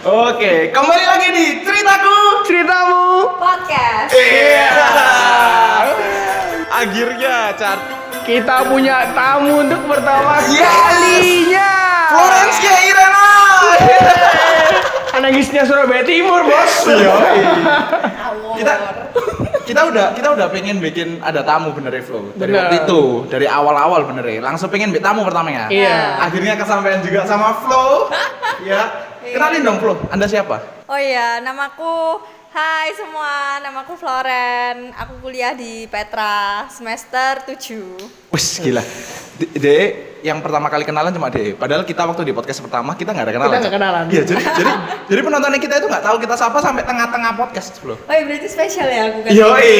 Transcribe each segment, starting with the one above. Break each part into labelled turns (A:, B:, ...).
A: Oke, kembali lagi di ceritaku.
B: Ceritamu
C: podcast
A: Iya. Akhirnya, Chart.
B: kita punya tamu untuk pertama
A: Yes.
B: kalinya.
A: Florence K. Irena.
B: Anangisnya Surabaya Timur, Bos.
C: Awor.
A: Iya. Kita kita udah kita udah pengen bikin ada tamu bener ya Flo dari
B: Bener.
A: waktu itu dari awal-awal bener ya langsung pengen bikin tamu pertama ya
B: Iya.
A: akhirnya kesampaian juga sama Flo ya
B: Iya.
A: kenalin dong Flo Anda siapa
C: oh iya namaku Hai semua, namaku Floren. Aku kuliah di Petra semester 7.
A: Wes gila D- De yang pertama kali kenalan cuma De padahal kita waktu di podcast pertama kita nggak ada kenalan
B: Kita nggak kenalan.
A: iya jadi jadi jadi penontonnya kita itu nggak tahu kita siapa sampai tengah-tengah podcast Flo
C: Oh iya berarti spesial ya aku kan.
A: Yoi.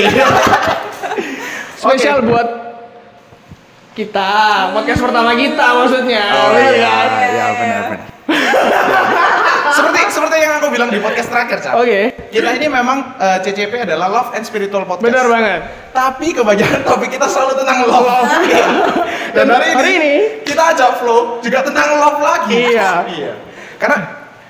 B: Spesial buat kita, podcast pertama kita maksudnya.
A: Oh
B: Iya
A: iya,
B: kan?
A: iya benar benar. seperti seperti yang aku bilang di podcast terakhir, Cak.
B: Oke.
A: Kita ini memang eh, CCP adalah love and spiritual podcast.
B: Benar banget.
A: Tapi kebanyakan topik kita selalu tentang love. Dan hari ini,
B: Hari ini-
A: kita ajak Flo juga tentang love lagi.
B: Iya.
A: iya. Karena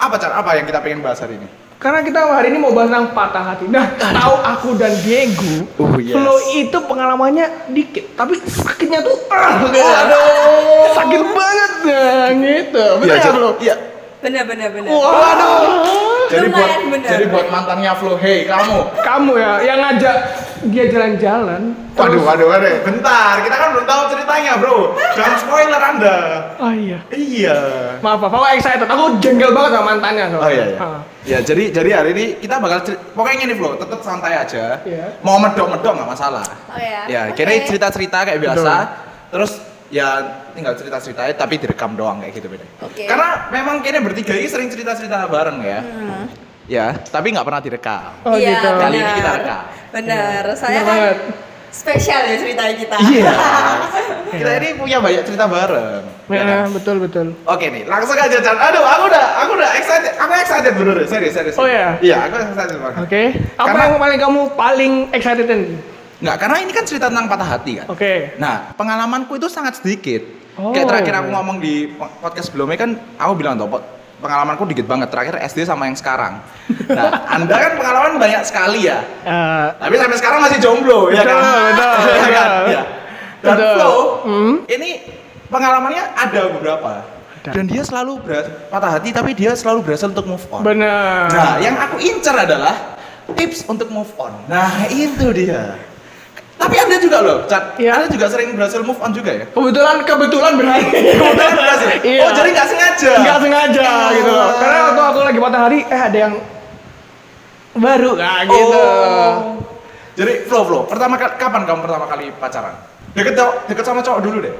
A: apa Cak? Apa yang kita pengen bahas hari ini?
B: Karena kita hari ini mau bahas tentang patah hati. Nah, tahu aku dan Diego,
A: Oh, yes.
B: Flo itu pengalamannya dikit, tapi sakitnya tuh, ah, gitu.
A: Waduh.
B: sakit banget nah, gitu.
A: Iya,
B: Benar ya,
A: Cak.
B: Flo?
A: Iya.
C: Bener bener bener.
B: Waduh.
A: Jadi buat
C: Lumayan benar.
A: jadi buat mantannya Flo, hey kamu.
B: Kamu ya yang ngajak dia jalan-jalan.
A: Waduh,
B: terus-
A: waduh, waduh. Bentar, kita kan belum tahu ceritanya, bro. Jangan spoiler Anda.
B: Oh iya.
A: Iya.
B: Maaf, Pak. Aku excited. Aku jengkel banget sama mantannya. soalnya.
A: Oh iya, iya.
B: Ah.
A: Ya, jadi jadi hari ini kita bakal ceri- pokoknya ini Flo, tetap santai aja.
B: Iya.
A: Mau medok-medok nggak masalah.
C: Oh iya.
A: Ya,
C: Oke.
A: kira cerita-cerita kayak biasa.
B: Betul.
A: Terus ya tinggal cerita-ceritanya tapi direkam doang kayak gitu beda.
C: Oke.
A: Karena memang kayaknya bertiga ini sering cerita-cerita bareng ya.
C: Hmm.
A: Ya, tapi nggak pernah direkam.
B: Oh,
C: iya,
B: gitu.
A: Kali ini
C: bener.
A: kita rekam. Iya.
C: Bener. Saya
B: Bener
C: kan
B: banget.
C: spesial ya ceritanya kita.
B: Iya.
A: kita ini punya banyak cerita bareng. ya
B: Ya,
A: kan?
B: betul betul.
A: Oke nih, langsung aja Chan. Aduh, aku udah, aku udah excited, aku excited bener, serius, serius.
B: Oh, iya?
A: Iya, aku excited banget.
B: Oke. Apa
A: Karena-
B: yang paling kamu paling excitedin?
A: Nggak, karena ini kan cerita tentang patah hati kan.
B: Oke.
A: Nah, pengalamanku itu sangat sedikit.
B: Oh.
A: Kayak terakhir aku ngomong di po- podcast sebelumnya kan, aku bilang tuh po- pengalamanku dikit banget. Terakhir SD sama yang sekarang. Nah, anda kan pengalaman banyak sekali ya.
B: Eh,
A: Tapi sampai sekarang masih jomblo, ya kan?
B: Betul,
A: ya
B: betul,
A: kan?
B: betul.
A: Ya. Dan
B: Betul.
A: Flo,
B: Hmm.
A: ini pengalamannya ada beberapa.
B: Ada.
A: Dan dia selalu berasa, patah hati, tapi dia selalu berhasil untuk move on.
B: bener.
A: Nah, yang aku incer adalah tips untuk move on. Nah, itu dia. Tapi Anda juga loh, Cat.
B: Iya.
A: Anda juga sering berhasil move on juga ya?
B: Kebetulan kebetulan berarti.
A: Kebetulan berhasil.
B: Iya.
A: Oh, jadi nggak sengaja.
B: Enggak sengaja gitu loh.
A: Oh.
B: Karena waktu aku lagi patah hari, eh ada yang baru nah, gitu.
A: Oh. Jadi flow flow. Pertama kali kapan kamu pertama kali pacaran? Deket tau- deket sama cowok dulu deh.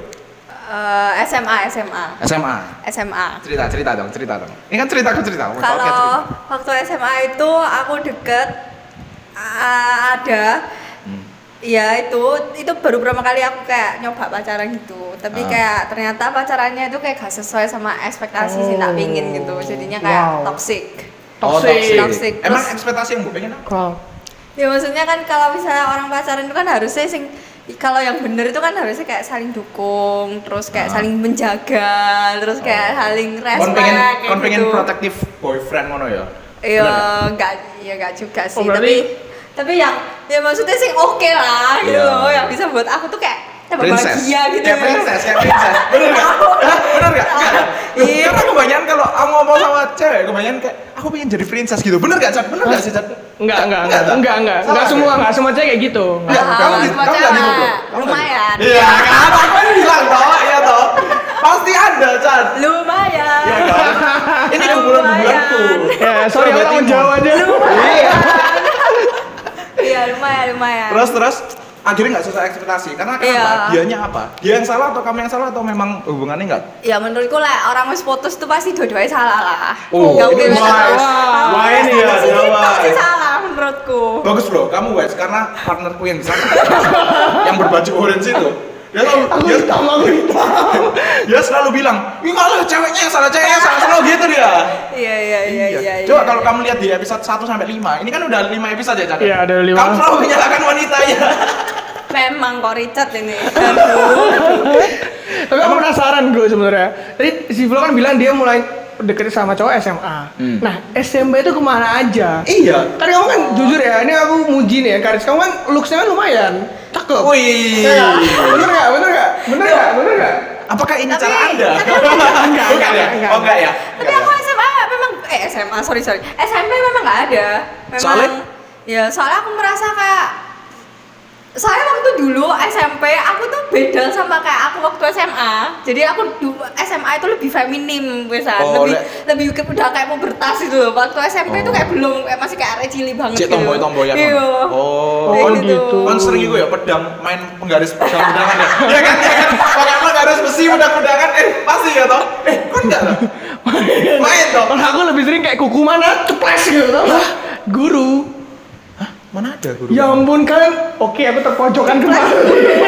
C: Eh, SMA SMA
A: SMA.
C: SMA.
A: Cerita cerita dong, cerita dong. Ini kan cerita aku cerita. Oke, cerita.
C: Kalau waktu SMA itu aku deket a- ada
A: Hmm.
C: ya itu itu baru pertama kali aku kayak nyoba pacaran gitu tapi
A: Ah.
C: kayak ternyata pacarannya itu kayak gak sesuai sama ekspektasi sih tak pingin gitu jadinya kayak
B: Wow.
C: toxic
A: Oh, toxic.
C: Toxic.
A: Emang
C: Terus-
A: ekspektasi yang gue pengen apa?
B: Wow.
C: ya maksudnya kan kalau misalnya orang pacaran itu kan harusnya sing kalau yang bener itu kan harusnya kayak saling dukung terus kayak
A: Ah.
C: saling menjaga terus kayak
A: Oh.
C: saling respect
A: Kon pengen,
C: kayak
A: kon pengen
C: gitu.
A: protective boyfriend ngono ya?
C: Iya,
A: Bener nggak?
C: enggak ya enggak juga sih,
B: Oh, berarti-
C: tapi tapi yang ya maksudnya sih oke lah gitu
A: Iya.
C: loh, yang bisa buat aku tuh kayak tambah
A: princess
C: bahagia gitu.
A: kayak princess kayak princess bener nggak Hah? bener nggak Nggak. Loh,
C: Iya.
A: karena kebanyakan kalau aku ngomong sama cewek kebanyakan kayak aku pengen jadi princess gitu bener nggak cat bener nggak sih cat
B: Enggak, enggak, enggak,
A: Cat?
B: enggak, enggak,
A: Salah
B: enggak
A: nggak?
B: semua, enggak semua cewek kayak gitu.
A: Nggak,
C: Ah,
A: kamu di-
C: semua
A: kamu nggak di
C: cewek.
A: goblok. Kamu nggak di-
C: Lumayan.
A: iya kan aku kan bilang toh ya toh pasti ada cat
C: Lumayan.
A: Iya kan ini kan bulan bulanku
B: Ya, sorry aku tanggung jawab aja.
A: iya
C: Iya, lumayan, lumayan.
A: terus terus akhirnya nggak sesuai ekspektasi karena
C: Iya.
A: kenapa dianya apa dia yang salah atau kamu yang salah atau memang hubungannya nggak
C: Ya menurutku lah orang wis putus tuh pasti dua-duanya salah lah.
A: Oh,
C: Nggak
A: ini wise.
C: mungkin
A: Wise
C: terus. Kalau
A: ini ya,
C: ekspektasi
A: dia
C: kita Pasti
A: wise.
C: salah menurutku.
A: Bagus bro, kamu wise karena partnerku yang di sana yang berbaju orange itu dia selalu dia,
B: aku hitam.
A: dia selalu bilang, ini malah ceweknya yang salah ceweknya yang salah selalu gitu dia.
C: Iya, iya, iya, iya.
A: Coba
C: iya.
A: kalau kamu lihat di episode 1 sampai 5, ini kan udah 5 episode ya, Caca?
B: Iya, ada lima.
A: Kamu selalu menyalahkan wanitanya.
C: memang kok Richard ini. Aduh.
B: Tapi aku penasaran gue sebenarnya. Tadi si Flo kan bilang dia mulai deket sama cowok SMA.
A: Hmm.
B: Nah, SMP itu kemana aja?
A: Iya.
B: Karena kamu kan jujur ya, ini aku muji nih ya, Karis. Kamu kan looks-nya kan lumayan, cakep.
A: Wih.
B: Iya nggak? Bener nggak? Bener nggak? Bener nggak? Bener nggak?
A: Apakah ini
C: Tapi-
A: cara Anda?
C: tapi-
A: enggak, enggak, ya?
B: enggak.
A: Oh, enggak ya?
C: Tapi aku SMA memang eh SMA sorry sorry SMP memang nggak ada. Memang,
A: Soalnya?
C: Ya soalnya aku merasa kayak saya waktu dulu SMP aku tuh beda sama kayak aku waktu SMA. Jadi aku du- SMA itu lebih feminim biasa,
A: Oh,
C: lebih
A: lek-
C: lebih ke- udah kayak pubertas gitu. loh. Waktu SMP itu
A: Oh.
C: kayak belum kayak masih kayak arek cilik banget
A: Cek
C: gitu.
A: tomboy-tomboyan. Mam.
C: Iya.
A: Oh,
C: Kayak
A: kon
B: gitu.
A: kon sering iku ya pedang main penggaris pedang pedangan ya. Ya kan, ya kan. Pakai penggaris besi pedang pedangan eh pasti ya toh. Eh, kon enggak toh? Main toh.
B: Kalau aku lebih sering kayak kuku mana ceples gitu tau nggak? Guru.
A: Mana ada guru?
B: Ya ampun kalian. Oke, aku terpojokan kemarin.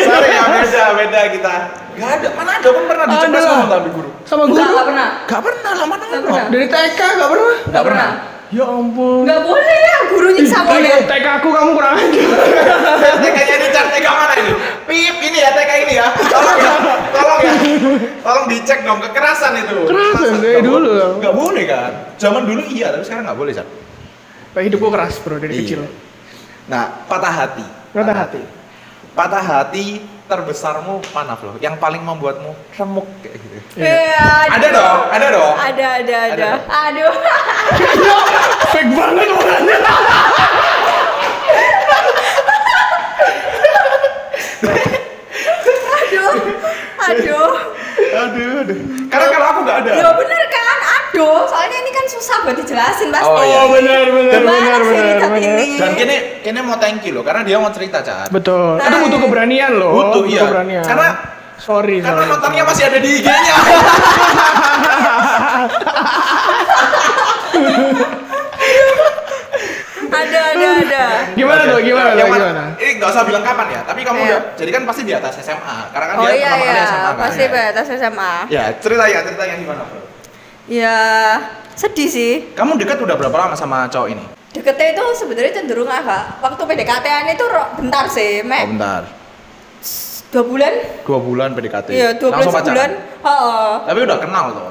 A: Sorry, ya, beda, beda kita. Enggak ada. Mana ada kon pernah dicoba
B: Ada lah.
A: sama tapi guru?
B: Sama guru.
C: Enggak, enggak pernah.
A: Enggak pernah lah, mana
C: Nggak
A: ada.
C: pernah.
B: Dari TK gak pernah?
A: Nggak pernah. Iya.
B: Ya ampun.
C: Enggak boleh ya gurunya
B: Ih,
C: sama
B: TK,
C: ya.
B: TK aku kamu kurang aja.
A: TK-nya ini cari TK mana ini? Pip, ini ya TK ini ya. Tolong ya, tolong ya. Tolong dicek dong kekerasan itu.
B: Kekerasan dari
A: Nggak
B: dulu.
A: boleh. Nggak boleh kan? Zaman dulu iya, tapi sekarang nggak boleh, Cak.
B: Pak hidupku keras bro dari
A: Iya.
B: kecil.
A: Nah, patah hati.
B: Patah hati.
A: Patah hati terbesarmu mana loh? Yang paling membuatmu remuk kayak gitu.
C: Iya,
A: Ada dong, ada dong.
C: Ada, ada,
A: Ada
C: ada. Aduh.
B: Fake banget orangnya.
C: aduh aduh
A: Aduh, aduh. Karena kalau aku nggak ada.
C: ya bener kan aduh soalnya ini kan susah buat dijelasin pasti
A: Oh, iya.
B: benar benar
C: Gimana sih kita ini?
A: Dan kini kini mau thank you loh, karena dia mau cerita, Cak.
B: Betul.
C: Nah.
B: Itu butuh keberanian loh.
A: Butuh, iya.
B: keberanian.
A: Karena-
B: sorry.
A: Karena
B: sorry.
A: nontonnya masih ada di IG-nya.
C: ada ada ada
B: Gimana
A: Oke.
B: tuh? Gimana
A: Yang
B: tuh?
A: mana-
B: Gimana?
A: Ini nggak usah bilang kapan ya, tapi kamu
C: Iya.
A: udah, jadi kan pasti di atas SMA, karena kan
C: oh
A: dia
C: iya
A: pertama kali
C: iya
A: SMA kan.
C: pasti batas SMA
A: Ya cerita ya cerita yang gimana bro?
C: ya sedih sih
A: Kamu dekat udah berapa lama sama cowok ini?
C: deketnya itu sebenarnya cenderung agak waktu PDKT-an itu ro- bentar
A: Oh,
C: sih mek
A: bentar,
C: dua bulan
A: dua bulan PDKT.
C: iya dua bulan
A: Langsung
C: sebulan
A: pacaran?
C: oh
A: Tapi udah kenal tuh.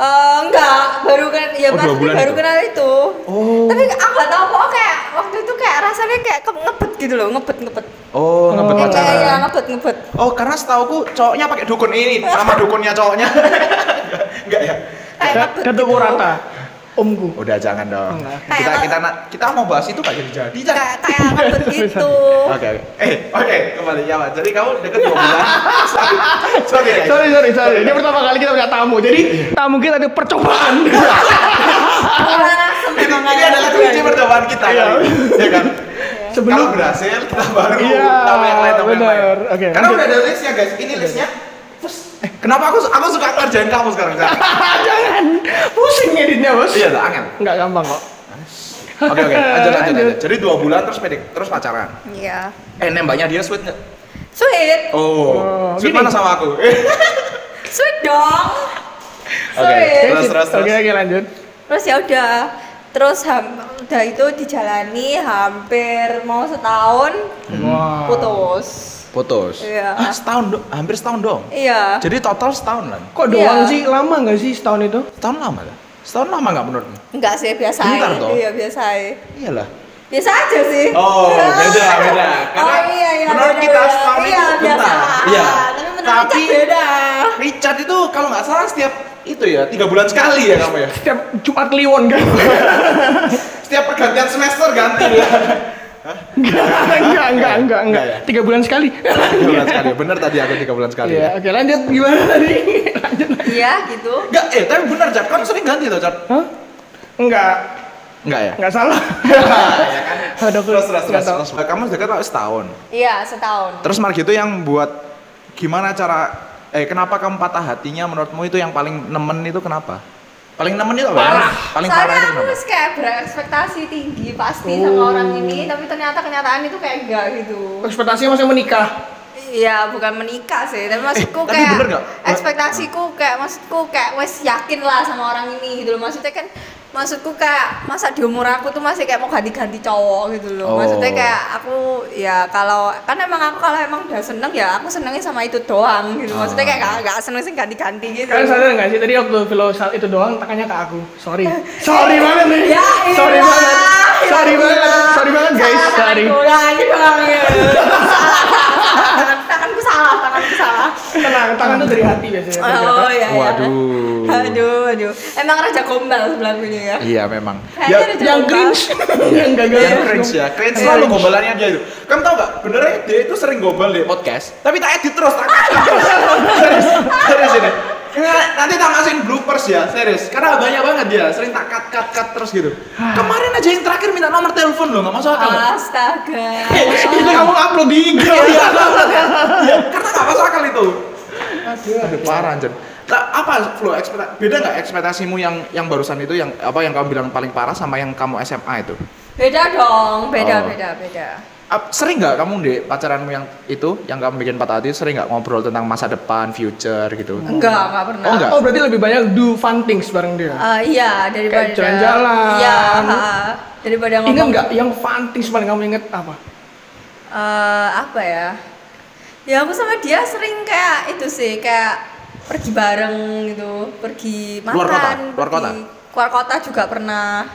C: Eh, enggak, baru kenal, ya
A: Oh, dua
C: maksudnya
A: bulan
C: baru
A: itu?
C: kenal itu.
A: Oh.
C: Tapi aku nggak tahu kok kayak waktu itu kayak rasanya kayak ke- ngebet gitu loh, ngebet ngebet.
A: Oh, ngebet
B: Oh.
C: Kayak-
A: pacaran.
C: Kayak ya, ngebet ngebet.
A: Oh, karena setauku cowoknya pakai dukun ini, nama dukunnya cowoknya. Enggak ya?
C: Kayak ngebet.
B: Ketuku
C: gitu.
B: rata. Omku.
A: Udah jangan dong.
B: Enggak.
A: Kita
C: Kayak-
A: kita na- kita mau bahas itu gak jadi jadi. Cak.
C: Kayak kayak ngebet gitu.
A: Oke, oke. Eh, oke, kembali ya, Wan. Jadi kamu deket dua bulan. Sorry. Sorry, guys.
B: Sorry sorry sorry.
A: Iya.
B: Ini pertama kali kita punya tamu. Jadi tamu kita ada percobaan.
C: Parah,
A: Ini,
C: semena
A: ini adalah kunci percobaan kita
B: Iya.
A: kali. Ya kan? Kalau
B: Sebelum
A: berhasil kita baru
B: Iya,
A: tamu yang lain, tamu yang lain.
B: bener. Oke,
A: Karena
B: lanjut.
A: udah ada listnya guys. Ini listnya. Terus, eh, kenapa aku aku suka ngerjain kamu sekarang? Cak?
B: jangan pusing editnya bos.
A: Iya, tak angin.
B: Nggak gampang kok.
A: Oke oke, lanjut lanjut
B: Lanjut.
A: lanjut. Jadi dua bulan terus pedik, terus pacaran.
C: Iya.
A: Eh nembaknya dia sweet nggak?
C: Sweet,
A: Oh,
B: Oh,
A: sweet
B: gini.
A: mana sama aku? Eh,
C: sweet dong.
A: Oke.
C: Sweet.
A: Terus, terus, terus.
B: Oke oke lanjut.
C: Terus ya udah, terus ham, udah itu dijalani hampir mau setahun
A: Hmm.
B: Wah.
C: putus.
A: Putus.
C: Iya.
A: Ah, setahun dong, hampir setahun dong.
C: Iya.
A: Jadi total setahun lah.
B: Kok doang
C: Iya.
B: sih? Lama nggak sih setahun itu?
A: Setahun lama lah. Setahun lama nggak menurutmu?
C: Enggak sih, biasa aja.
A: Bentar, toh.
C: Iya, biasa aja.
A: Iyalah.
C: Biasa aja sih.
A: Oh, beda, beda. Karena
C: oh, iya, iya,
A: menurut
C: beda,
A: kita
C: beda.
A: setahun
C: iya,
A: itu
C: biasa.
A: bentar. Iya.
C: Tapi menurut
A: Tapi-
C: Richard beda.
A: Richard itu kalau nggak salah setiap itu ya tiga bulan sekali ya kamu ya.
B: Setiap Jumat Kliwon kan?
A: Setiap pergantian semester ganti
C: Iya.
A: ya.
B: Enggak,
A: Iya,
B: enggak, enggak, enggak, enggak.
A: ya?
B: Tiga bulan sekali.
A: tiga bulan sekali. Bener tadi aku tiga bulan sekali.
B: Iya, oke lanjut gimana tadi? Lanjut.
C: Iya, gitu.
A: Enggak, eh tapi bener Cat, kan sering ganti tuh Cat
B: Hah? Enggak,
A: Enggak ya?
B: enggak salah.
A: ya kan?
B: Aduh, aku
A: Terus, terus,
B: nggak
A: terus,
B: tahu.
A: terus. Kamu dekat lah setahun
C: Iya, setahun.
A: Terus Margito yang buat gimana cara Eh kenapa kamu patah hatinya menurutmu itu yang paling nemen itu kenapa? Paling nemen itu apa? ya?
B: Parah.
A: Paling
C: Soalnya
A: parah itu
C: aku
A: kenapa?
C: terus kayak berekspektasi tinggi pasti sama
B: Oh.
C: orang ini, tapi ternyata kenyataan itu kayak enggak gitu.
B: Ekspektasinya masih menikah.
C: ya bukan menikah sih tapi maksudku
A: Eh, tapi
C: kayak
A: bener nggak?
C: ekspektasiku kayak maksudku kayak wes yakin lah sama orang ini gitu loh maksudnya kan maksudku kayak masa di umur aku tuh masih kayak mau ganti-ganti cowok gitu
A: Oh.
C: loh maksudnya kayak aku ya kalau kan emang aku kalau emang udah seneng ya aku senengnya sama itu doang gitu
A: Ah.
C: maksudnya kayak gak, gak seneng sih ganti-ganti gitu
A: Kan
B: Kalian sadar nggak sih tadi waktu Vilo saat itu doang tanya ke aku. Sorry. Sorry banget nih.
C: Ya
B: sorry
C: ilah,
B: banget.
C: ya
B: Sorry
C: ilah.
B: banget. Sorry
A: kan
B: banget guys.
C: Salah
B: Sorry.
C: tanganku, ya ini doang ya. Salah, salah, tangan- Tanganku salah, tanganku salah.
B: Tenang, tangan tuh dari hati biasanya.
C: Oh iya. iya.
A: Waduh.
C: Aduh, aduh. Emang raja gombal sebelah ini ya.
A: Iya memang.
C: Kayaknya
A: Ya,
C: raja
B: Yang
C: gombal.
B: cringe, yang gagal.
A: Yang cringe ya, cringe
B: Iya.
A: selalu gombalannya dia itu. Kamu tau gak, benernya dia itu sering gombal di podcast, tapi tak edit terus, tak kasih terus. serius, serius ini. Nggak, Nanti tak kasihin bloopers ya, serius. Karena banyak banget dia, sering tak cut cut cut terus gitu. Kemarin aja yang terakhir minta nomor telepon loh, nggak masuk akal. loh.
C: Astaga.
A: Eh, Itu kamu upload di IG. Iya, Iya, karena nggak masuk akal itu. Aduh, parah anjir. Nah, apa lo ekspektasi beda nggak ekspektasimu yang yang barusan itu yang apa yang kamu bilang paling parah sama yang kamu SMA itu?
C: Beda dong, beda,
A: Oh.
C: beda, beda.
A: Ap- sering nggak kamu di pacaranmu yang itu yang kamu bikin patah hati sering nggak ngobrol tentang masa depan future gitu
C: Enggak, enggak pernah.
A: Oh, enggak?
B: Oh berarti lebih banyak do fun things bareng dia.
C: Eh, iya, daripada
B: Kayak jalan-jalan.
C: Iya, ha. daripada
A: Iya,
C: ngomong.
B: Ingat nggak yang fun things paling kamu inget apa?
C: eh apa ya ya aku sama dia sering kayak itu sih kayak pergi bareng gitu pergi makan
A: Luar kota? Luar
C: pergi-
A: kota?
C: keluar kota juga pernah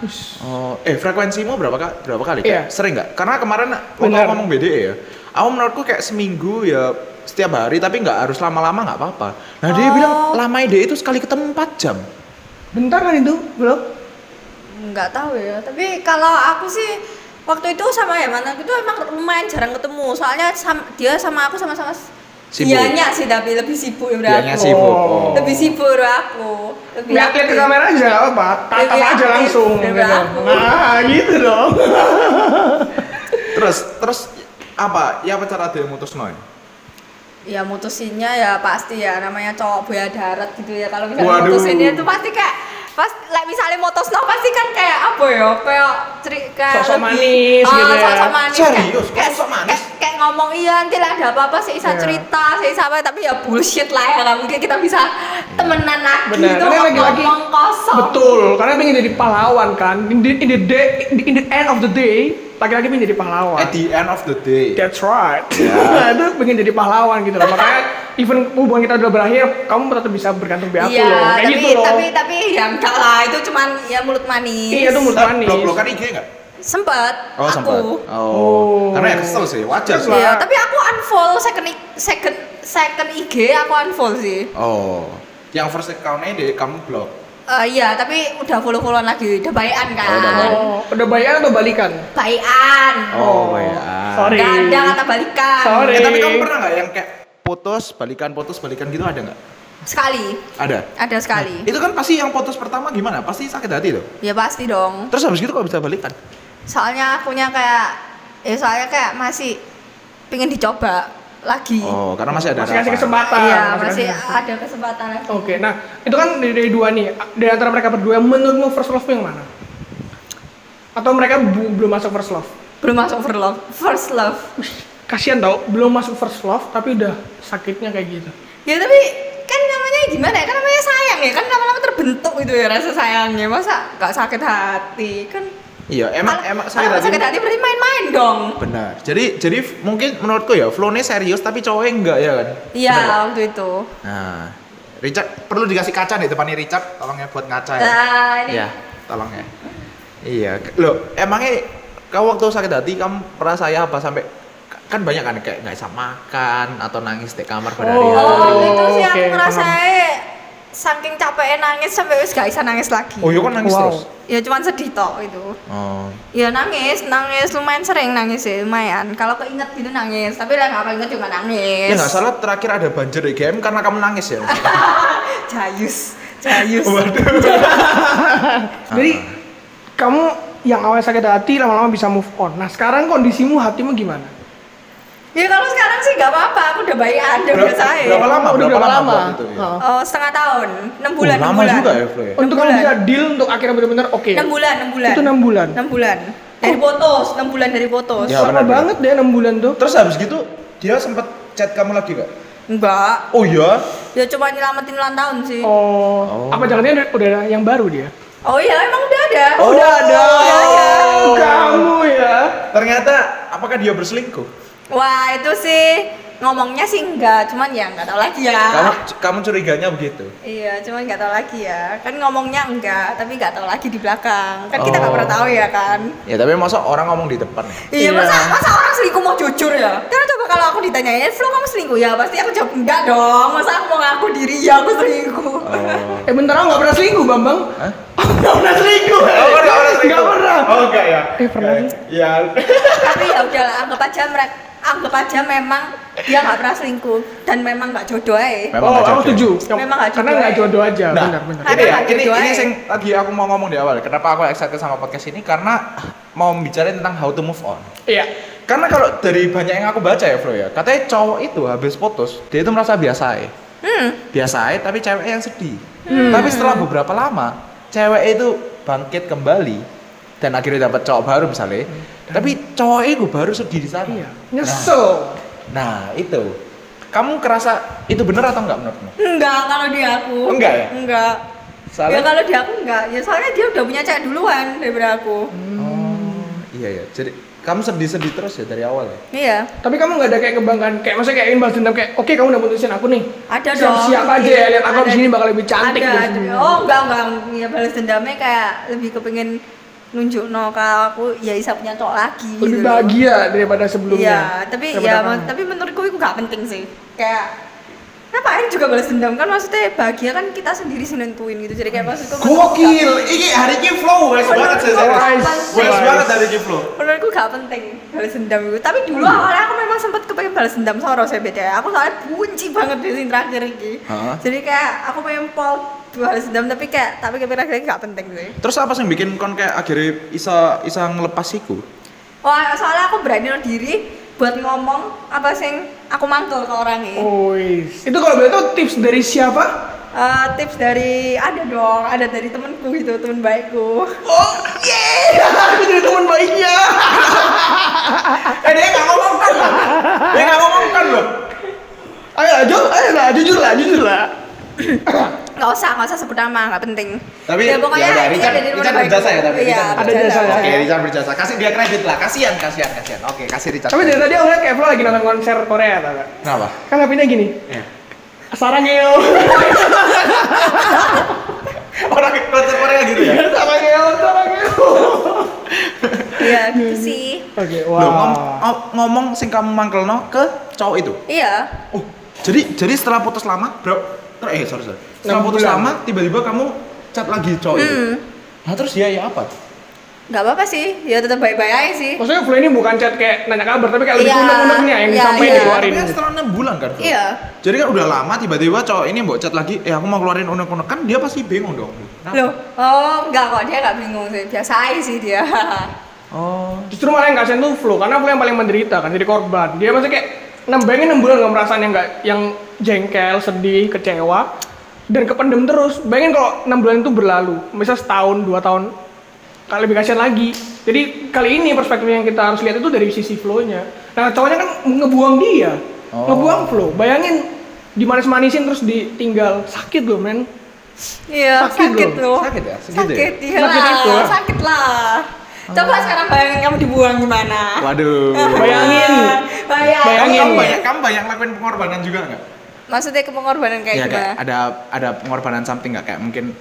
A: oh eh frekuensimu berapa kali berapa kali Kak?
B: Iya.
A: sering nggak karena kemarin waktu
B: Benar.
A: aku ngomong BDE ya aku menurutku kayak seminggu ya setiap hari tapi nggak harus lama-lama nggak apa-apa nah dia
C: Oh.
A: bilang lama ide E itu sekali ketemu 4 jam
B: Bentar kan itu belum?
C: nggak tahu ya tapi kalau aku sih waktu itu sama ya mantan itu emang lumayan jarang ketemu soalnya sam- dia sama aku sama-sama s-
A: Sibuk.
C: dianya sih tapi lebih sibuk ya
A: dianya
C: aku
A: sibuk Oh.
B: Oh.
C: lebih sibuk dari aku lebih
B: Lihat-lihat ke
C: aktif.
B: kamera aja nggak apa-apa. Tatap
C: Lebih
B: aja
C: aktif
B: langsung.
C: dari
B: Gitu.
C: aku.
B: Nah gitu dong.
A: terus terus apa ya apa cara dia mutus noy
C: ya mutusinnya ya pasti ya namanya cowok buaya darat gitu ya kalau
A: Waduh.
C: misalnya mutusinnya itu pasti kayak pas like misalnya motos no pasti kan kayak apa ya kayak ceri kayak
B: Sosok
C: lebih-
B: manis
C: Ah,
B: gitu ya.
C: sosok manis
A: Serius?
C: kayak,
A: Kok sosok manis?
C: kayak, kayak ngomong iya nanti lah ada apa-apa sih bisa
B: Iya.
C: cerita sih sama tapi ya bullshit lah ya nggak mungkin kita bisa temenan lagi
B: Iya. Benar.
C: itu
B: Karena lagi-lagi-
C: ngomong kosong
B: Betul, karena pengen jadi pahlawan kan. In the, in the day, in the, in the end of the day, laki-laki pengen jadi pahlawan.
A: at the end of the day
B: That's right.
A: Eh, Ya.
B: itu pengen jadi pahlawan gitu loh. Makanya even hubungan kita udah berakhir, kamu tetap bisa bergantung di aku
C: iya
B: loh. Kayak
C: tapi,
B: gitu loh.
C: tapi tapi ya enggak lah itu cuman ya mulut manis
B: Iya, itu mulut-
A: Nah,
B: manis.
A: blok-blokan IG nggak
C: sempet
A: Oh,
C: aku
A: sempat. Oh.
B: Oh.
A: Karena ya kesel sih, wajar sih.
B: Lah.
C: Iya, tapi aku unfollow second i- second second IG aku unfollow sih.
A: Oh. Yang first account-nya deh kamu blok.
C: Eh iya, tapi udah follow-followan lagi, udah baikan kan.
A: Oh, udah baikan.
B: Oh, udah bayaran atau balikan?
C: Baikan.
A: Oh, baikan.
B: Sorry.
C: Gak ada kata balikan.
B: Sorry.
A: Eh, tapi kamu pernah nggak yang kayak putus, balikan, putus, balikan gitu ada nggak?
C: Sekali,
A: Ada.
C: ada sekali.
A: Itu kan pasti yang putus pertama gimana? Pasti sakit hati tuh.
C: Ya pasti dong.
A: Terus habis gitu kok bisa balikan?
C: Soalnya akunya kayak ya soalnya kayak masih pengen dicoba lagi.
A: Oh, karena masih ada
B: Masih kasih
A: harapan.
B: kesempatan.
C: Iya,
B: kasih
C: masih
B: kesempatan.
C: ada kesempatan lagi.
B: Oke, nah itu kan dari, dari dua nih. Dari antara mereka berdua, menurutmu first love yang mana? Atau mereka bu- belum masuk first love?
C: Belum masuk first love. First love.
B: Kasihan tau, belum masuk first love tapi udah sakitnya kayak gitu.
C: Ya tapi kan namanya gimana ya? Kan namanya sayang ya. Kan lama-lama terbentuk gitu ya rasa sayangnya. Masa gak sakit hati? Kan
A: Iya, emang
C: kalau-
A: emang
C: kalau
A: sakit hati.
C: sakit hati berarti main-main dong.
A: Benar. Jadi jadi mungkin menurutku ya flow-nya serius tapi cowoknya enggak ya kan?
C: Iya,
A: Benar nggak?
C: waktu itu.
A: Nah, Richard perlu dikasih kaca nih depannya Richard, tolong ya buat ngaca ya.
C: Nah, ini
A: Iya, tolong ya. Iya, lo emangnya kau waktu sakit hati kamu pernah saya apa sampai kan banyak kan kayak nggak bisa makan atau nangis di kamar
B: Oh,
C: Oh,
A: berhari-hari.
C: waktu itu sih
B: oke,
C: aku
B: paham.
C: ngerasain saking capek nangis sampai wis gak bisa nangis lagi.
A: Oh, iya kan nangis
B: Wow.
A: terus.
C: Ya cuman sedih tok itu.
A: Oh.
C: Ya nangis, nangis lumayan sering nangis sih, lumayan. Kalau keinget gitu nangis, tapi lah nggak keinget juga nangis.
A: Ya nggak salah terakhir ada banjir di game karena kamu nangis ya.
C: Jayus, jayus.
B: Jadi kamu yang awalnya sakit hati lama-lama bisa move on. Nah sekarang kondisimu hatimu gimana?
C: Ya kalau sekarang sih nggak apa-apa, aku udah baikan, udah
A: Berapa-
C: biasa ya.
A: berapa lama?
B: Oh, Udah berapa lama?
A: buat itu ya?
B: Heeh.
C: Oh, setengah tahun, 6
A: Oh,
C: bulan, enam
A: lama
C: bulan.
A: juga ya, Flo ya.
B: Untuk kamu
C: bulan.
B: bisa deal untuk akhirnya benar-benar oke.
C: 6 bulan, 6 bulan.
B: Itu enam bulan.
C: 6 bulan. Dari putus, 6 bulan dari putus.
A: Oh. Ya.
B: Lama
A: benar-benar.
B: banget deh enam bulan tuh.
A: Terus habis gitu dia sempat chat kamu lagi nggak?
C: Enggak.
A: Oh iya.
C: Ya cuma nyelamatin ulang tahun sih. Oh,
B: Oh,
A: Oh.
B: apa jangan-jangan udah- udah ada yang baru dia?
C: iya emang udah ada.
A: Oh, udah ada.
C: Udah ada.
A: Oh.
B: Kamu ya.
A: Ternyata apakah dia berselingkuh?
C: Wah, itu sih ngomongnya sih enggak, cuman ya enggak tahu lagi ya.
B: Ah.
A: Kamu kamu curiganya begitu.
C: Iya, cuman nggak tahu lagi ya. Kan ngomongnya enggak, tapi nggak tahu lagi di belakang. Kan kita nggak
A: Oh.
C: pernah tahu ya kan.
A: Ya tapi masa orang ngomong di depan ya?
C: Iya,
B: Iya.
C: masa masa orang selingkuh mau jujur ya? Karena coba kalau aku ditanyain, "Flo kamu selingkuh ya?" Pasti aku jawab enggak dong. Masa aku mau ngaku diri ya aku selingkuh.
A: Oh.
B: Eh bentar aku nggak pernah selingkuh Bambang.
A: Hah?
B: Aku nggak pernah selingkuh.
A: Oh, pernah, pernah
B: Nggak
A: selingkuh?
B: pernah.
A: Oh, enggak ya?
B: Eh, pernah
A: Enggak Ya.
C: tapi ya udahlah, anggap aja mereka anggap aja memang dia nggak pernah selingkuh dan memang nggak jodoh ya.
A: Memang
B: Oh,
A: nggak
B: aku
A: jodoh.
B: setuju. Yang-
C: Memang nggak
B: Karena
C: jodoh eh.
B: nggak
C: aja.
B: jodoh aja.
A: Nah,
B: Benar, benar.
A: ini ya,
C: Ada
A: ini,
C: nggak
A: ini
C: jodoh,
A: yang tadi aku mau ngomong di awal. Kenapa aku excited sama podcast ini? Karena mau bicarain tentang how to move on.
B: Iya.
A: Karena kalau dari banyak yang aku baca ya Flo ya, katanya cowok itu habis putus, dia itu merasa biasa ya.
C: Hmm,
A: Biasa aja, tapi cewek yang sedih.
B: Hmm.
A: Tapi setelah beberapa lama, cewek itu bangkit kembali dan akhirnya dapat cowok baru misalnya. Tapi cowok itu baru sedih di sana.
B: Hmm. Iya. Nyesel.
A: Nah, itu. Kamu kerasa itu bener atau enggak menurutmu?
C: Enggak kalau di aku.
A: Enggak ya?
C: Enggak.
B: Iya,
C: Ya kalau di aku enggak. Ya soalnya dia udah punya cewek duluan daripada aku.
A: Oh, iya ya. Jadi kamu sedih-sedih terus ya dari awal ya?
C: Iya.
B: Tapi kamu nggak ada kayak kebanggaan, kayak maksudnya kayak ingin balas dendam kayak, oke kamu udah putusin aku nih.
C: Ada
B: Siap-
C: dong.
B: siap aja ya, lihat aku
C: Ada-
B: abis ini bakal lebih cantik
C: Ada,
B: dari
C: ada.
B: sebelumnya.
C: Oh enggak enggak. Ya balas dendamnya kayak lebih kepengen nunjuk no kalau aku ya bisa punya cowok lagi.
B: Lebih
C: gitu loh.
B: bahagia daripada sebelumnya.
C: Iya, tapi
B: Daripada
C: ya
B: kamu.
C: ma- tapi menurutku itu gak penting sih. Kayak ngapain juga balas dendam kan maksudnya bahagia kan kita sendiri sih nentuin gitu. Jadi kayak maksudku
A: Gokil, ini hari ini flow wes banget sih serius.
B: Wise,
A: Wes
B: wise.
A: banget hari ini flow.
C: menurutku gak penting balas dendam itu tapi dulu
A: Hmm.
C: awalnya aku memang sempat kepengen balas dendam soro saya beda aku soalnya bunci banget di sini terakhir ini
A: Hah?
C: jadi kayak aku pengen pol balas dendam tapi kayak tapi kepikiran akhirnya gak penting sih
A: Terus apa sih yang bikin kon kayak akhirnya isa isa ngelepasiku?
C: wah soalnya aku berani diri buat ngomong apa sih aku mantul ke orang ini
B: Oh, is. Itu kalau boleh tahu tips dari siapa?
C: Eh, tips dari ada dong ada dari temenku gitu temen baikku
A: Oh,
B: Aku jadi teman baiknya.
A: eh dia nggak ngomong kan? loh. Dia nggak ngomong kan loh.
B: Ayo lanjut, ayo lah, jujur lah, jujur lah.
C: nggak usah nggak usah sebut nama nggak penting
A: Tapi ya udah,
C: ini
A: Richard-
C: dari temen
A: Richard
C: baikku.
A: berjasa ya, tapi
C: iya,
A: Richard
B: berjasa.
C: berjasa.
B: Ada jasa
A: Oke,
B: ya.
A: Richard berjasa. Kasih dia kredit lah. Kasihan, kasihan, kasihan. Oke, kasih Richard.
B: Tapi dari tadi aku lihat kayak Flo lagi nonton konser Korea, tau gak?
A: kenapa?
B: Kan ngapainnya gini,
A: Ya.
B: Sarangeo,
A: Orang konser Korea gitu ya.
B: Sarangeo, Sarangeo.
C: iya
B: Hmm.
C: gitu sih
B: Oke,
A: Loh, ngom-
B: wow.
A: ngom- ngomong sing kamu mangkelno ke cowok itu.
C: iya
A: Oh, jadi jadi setelah putus lama, bro, ter- eh sorry sorry. Setelah
B: Enam
A: putus
B: bulan.
A: lama, tiba-tiba kamu chat lagi cowok itu.
C: Hmm.
A: Nah terus dia ya apa?
C: nggak apa-apa sih ya tetap baik-baik aja sih
B: Maksudnya Flo ini bukan chat kayak nanya kabar, tapi kayak lebih
C: Iya.
B: unek-uneknya yang
C: Iya,
B: disampaikan
C: iya.
B: dikeluarin.
A: Tapi kan setelah enam bulan kan? Bro?
C: iya
A: Jadi kan udah lama, tiba-tiba cowok ini mau chat lagi, eh aku mau keluarin unek-unek kan dia pasti bingung dong. Nah,
C: loh oh nggak kok dia nggak bingung sih biasa aja sih dia
A: Oh.
B: Justru malah yang kasihan tuh Flo, karena Flo yang paling menderita kan, jadi korban. Dia maksudnya kayak nembengin 6 bulan gak merasaan yang gak, yang jengkel, sedih, kecewa, dan kependem terus. Bayangin kalau 6 bulan itu berlalu, misal setahun, dua tahun, kali lebih kasihan lagi. Jadi kali ini perspektif yang kita harus lihat itu dari sisi Flo-nya. Nah cowoknya kan ngebuang dia,
A: Oh.
B: ngebuang Flo. Bayangin dimanis-manisin terus ditinggal, sakit loh men.
C: iya
B: Sakit
C: sakit,
B: loh.
C: loh
A: Sakit ya? Segitu ya?
C: sakit iya
B: Sakit Oh.
C: lah,
B: itu.
C: sakit lah coba sekarang bayangin kamu dibuang gimana
A: Waduh.
B: Bayangin.
C: Ah. bayangin
B: Bayangin.
A: Kamu banyak, kamu banyak lakuin pengorbanan juga nggak?
C: maksudnya kepengorbanan kayak
A: ya
C: gimana
A: kayak ada ada pengorbanan something nggak kayak mungkin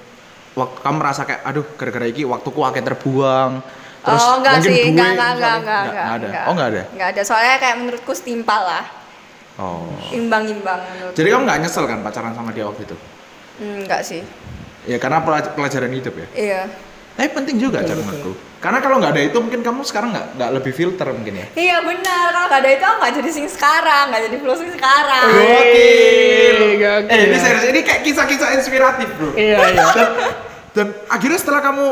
A: waktu kamu merasa kayak aduh gara-gara iki waktuku akhirnya terbuang terus
C: oh enggak
A: mungkin
C: sih,
A: duit,
C: enggak, enggak, enggak,
A: misalnya. Nggak-
C: enggak, enggak,
A: nggak ada oh enggak ada
C: Enggak ada, soalnya kayak menurutku setimpal lah
A: oh
C: Imbang-imbang menurutku
A: jadi kamu nggak nyesel kan pacaran sama dia waktu itu
C: Hmm, Enggak sih,
A: ya karena pelaj- pelajaran hidup ya
C: iya
A: tapi penting juga
B: Betul,
A: cara
B: betul.
A: menurutku karena kalau nggak ada itu mungkin kamu sekarang nggak nggak lebih filter mungkin ya
C: Iya benar, kalau gak ada itu aku gak jadi sing sekarang, gak jadi flow sing sekarang
B: Oke.
A: Iya. Gokil.
B: gokil.
A: eh ini serius ini kayak kisah-kisah inspiratif bro
B: Iya, iya.
A: dan, dan akhirnya setelah kamu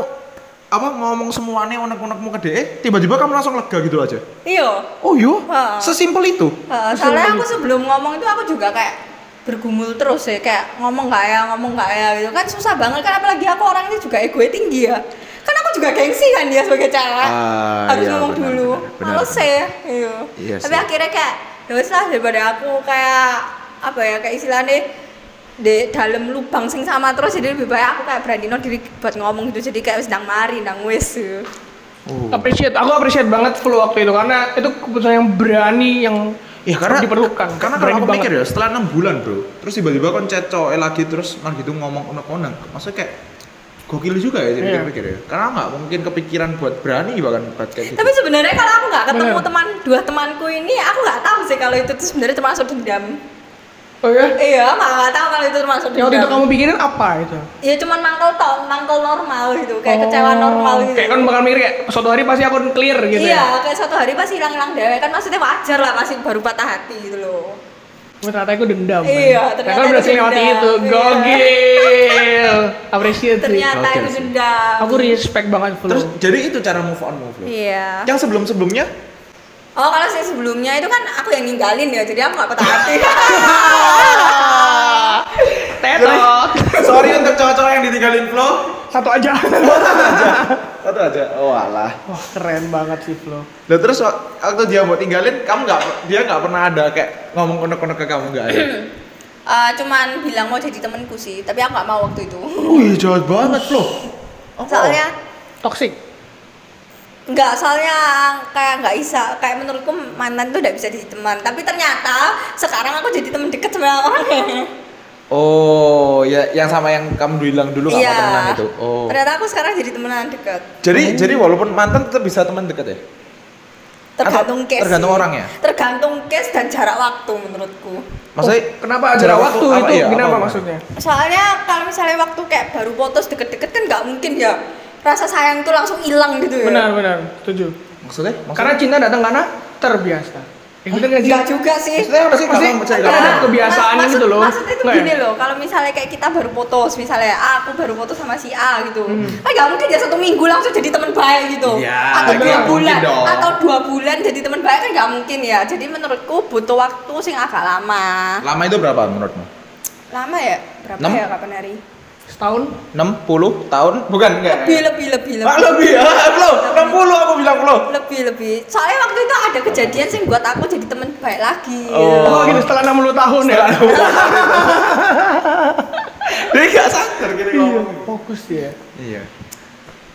A: apa ngomong semuanya unek-unekmu ke DE tiba-tiba kamu langsung lega gitu aja
C: Iya,
A: Oh yo,
B: iya?
C: Ha.
A: sesimpel itu.
C: Heeh, soalnya aku sebelum ngomong itu aku juga kayak bergumul terus ya Kayak ngomong gak ya, ngomong gak ya gitu kan susah banget kan Apalagi aku orangnya juga egonya tinggi ya Kan aku juga gengsi kan dia sebagai cewek
A: Ah,
C: Harus
A: iya,
C: ngomong
A: benar,
C: dulu,
A: benar, benar.
C: males ya iya.
A: Iya
C: Tapi
A: sih.
C: akhirnya kayak ya wis lah daripada aku kayak apa ya kayak istilahnya di dalam lubang sing sama terus jadi lebih baik aku kayak beraniin diri buat ngomong gitu jadi kayak wis nang mari nang wis gitu.
B: appreciate aku appreciate banget flu waktu itu karena itu keputusan yang berani yang
A: Ya karena
B: diperlukan
A: Karena kalau
B: Berani
A: aku
B: banget.
A: mikir ya setelah 6 bulan, Bro. Terus tiba-tiba kon cecok eh, lagi terus nah gitu ngomong unek-unek. Maksudnya kayak gokil juga ya jadi
B: Iya.
A: pikir ya. Karena nggak mungkin kepikiran buat berani bahkan buat kayak gitu.
C: tapi sebenarnya kalau aku nggak ketemu
B: Bener.
C: teman dua temanku ini aku nggak tahu sih kalau itu tuh sebenarnya termasuk dendam
B: oh ya
C: iya nggak nggak tahu kalau itu termasuk
B: yang waktu itu
C: dendam
B: kamu pikirin apa itu
C: ya cuman mangkel tok mangkel normal gitu kayak
B: Oh.
C: kecewa normal gitu
B: kayak kan bakal mikir kayak suatu hari pasti aku clear gitu
C: iya,
B: ya
C: kayak suatu hari pasti hilang-hilang dewe kan maksudnya wajar lah masih baru patah hati gitu loh.
B: Tapi ternyata aku dendam kan.
C: Iya, ternyata
B: kan
C: itu
B: berhasil lewati
C: dendam.
B: itu
C: Iya.
B: gogil appreciate sih.
C: Ternyata
A: Oke
C: itu
A: sih.
C: dendam.
B: aku respect banget flu
A: Terus jadi itu cara move on move on.
C: Iya.
A: Yang sebelum-sebelumnya
C: Oh, kalau sih sebelumnya itu kan aku yang ninggalin ya, jadi aku gak patah hati.
B: Ah, tetot
A: Sorry untuk cowok-cowok yang ditinggalin Flo.
B: satu aja
A: Satu aja. Oh alah.
B: wah keren banget sih flu
A: Lah terus wak- waktu dia mau tinggalin, kamu nggak dia nggak pernah ada kayak ngomong unek-unek ke kamu nggak ada.
C: Eh, cuman bilang mau jadi temenku sih, tapi aku gak mau waktu itu.
A: Wih jahat banget Flo.
B: Oh.
A: Apa?
C: Soalnya
B: toxic
C: Enggak, soalnya kayak nggak bisa, kayak menurutku mantan tuh udah bisa jadi teman. Tapi ternyata sekarang aku jadi teman deket sama orangnya.
A: Oh, ya yang sama yang kamu bilang dulu nggak
B: Iya.
A: mau temenan itu. Oh.
C: Iya. Ternyata aku sekarang jadi temenan deket.
A: Jadi jadi walaupun mantan tetap bisa teman dekat ya.
C: Tergantung
A: Atau
C: case.
A: tergantung ya?
C: sih.
A: orangnya?
C: Tergantung case dan jarak waktu menurutku.
A: Maksudnya
B: Oh, kenapa jarak waktu
A: apa-
B: itu
A: iya,
B: kenapa
A: apa-
B: maksudnya
C: Soalnya kalau misalnya waktu kayak baru putus deket-deket kan nggak mungkin ya rasa sayang tuh langsung hilang gitu ya.
B: benar benar setuju
A: Maksudnya?
B: karena
A: Maksudnya?
B: cinta datang karena terbiasa ikutin nggak sih
C: Enggak juga sih.
A: Maksudnya apa sih
B: Maksudnya-
A: kamu percaya
B: Karena
A: kamu?
B: ada kebiasaannya
C: Nah, Maksud-
B: gitu loh.
C: Maksudnya itu
B: Nggak ya?
C: gini loh, kalau misalnya kayak kita baru putus, misalnya ah, aku baru putus sama si A gitu.
B: Hmm.
C: Kan nggak mungkin ya satu minggu langsung jadi teman baik gitu.
A: Iya,
C: atau dua
A: nggak
C: bulan,
A: mungkin dong.
C: atau dua bulan jadi teman baik kan nggak mungkin ya. Jadi menurutku butuh waktu sing agak lama.
A: Lama itu berapa menurutmu?
C: Lama ya? Berapa
A: Enam?
C: ya kapan hari?
B: setahun
A: 60 tahun? Bukan enggak.
C: Lebih, lebih, lebih,
A: Iya.
C: lebih.
A: Ah, lebih. Ah, Flo, 60 aku bilang Flo.
C: lebih lebih soalnya waktu itu ada kejadian sih buat aku jadi temen baik lagi
A: Oh.
B: oh gitu setelah 60 tahun ya
A: Dia enggak sadar gini
B: Iya,
A: ngomong.
B: fokus ya
A: Iya.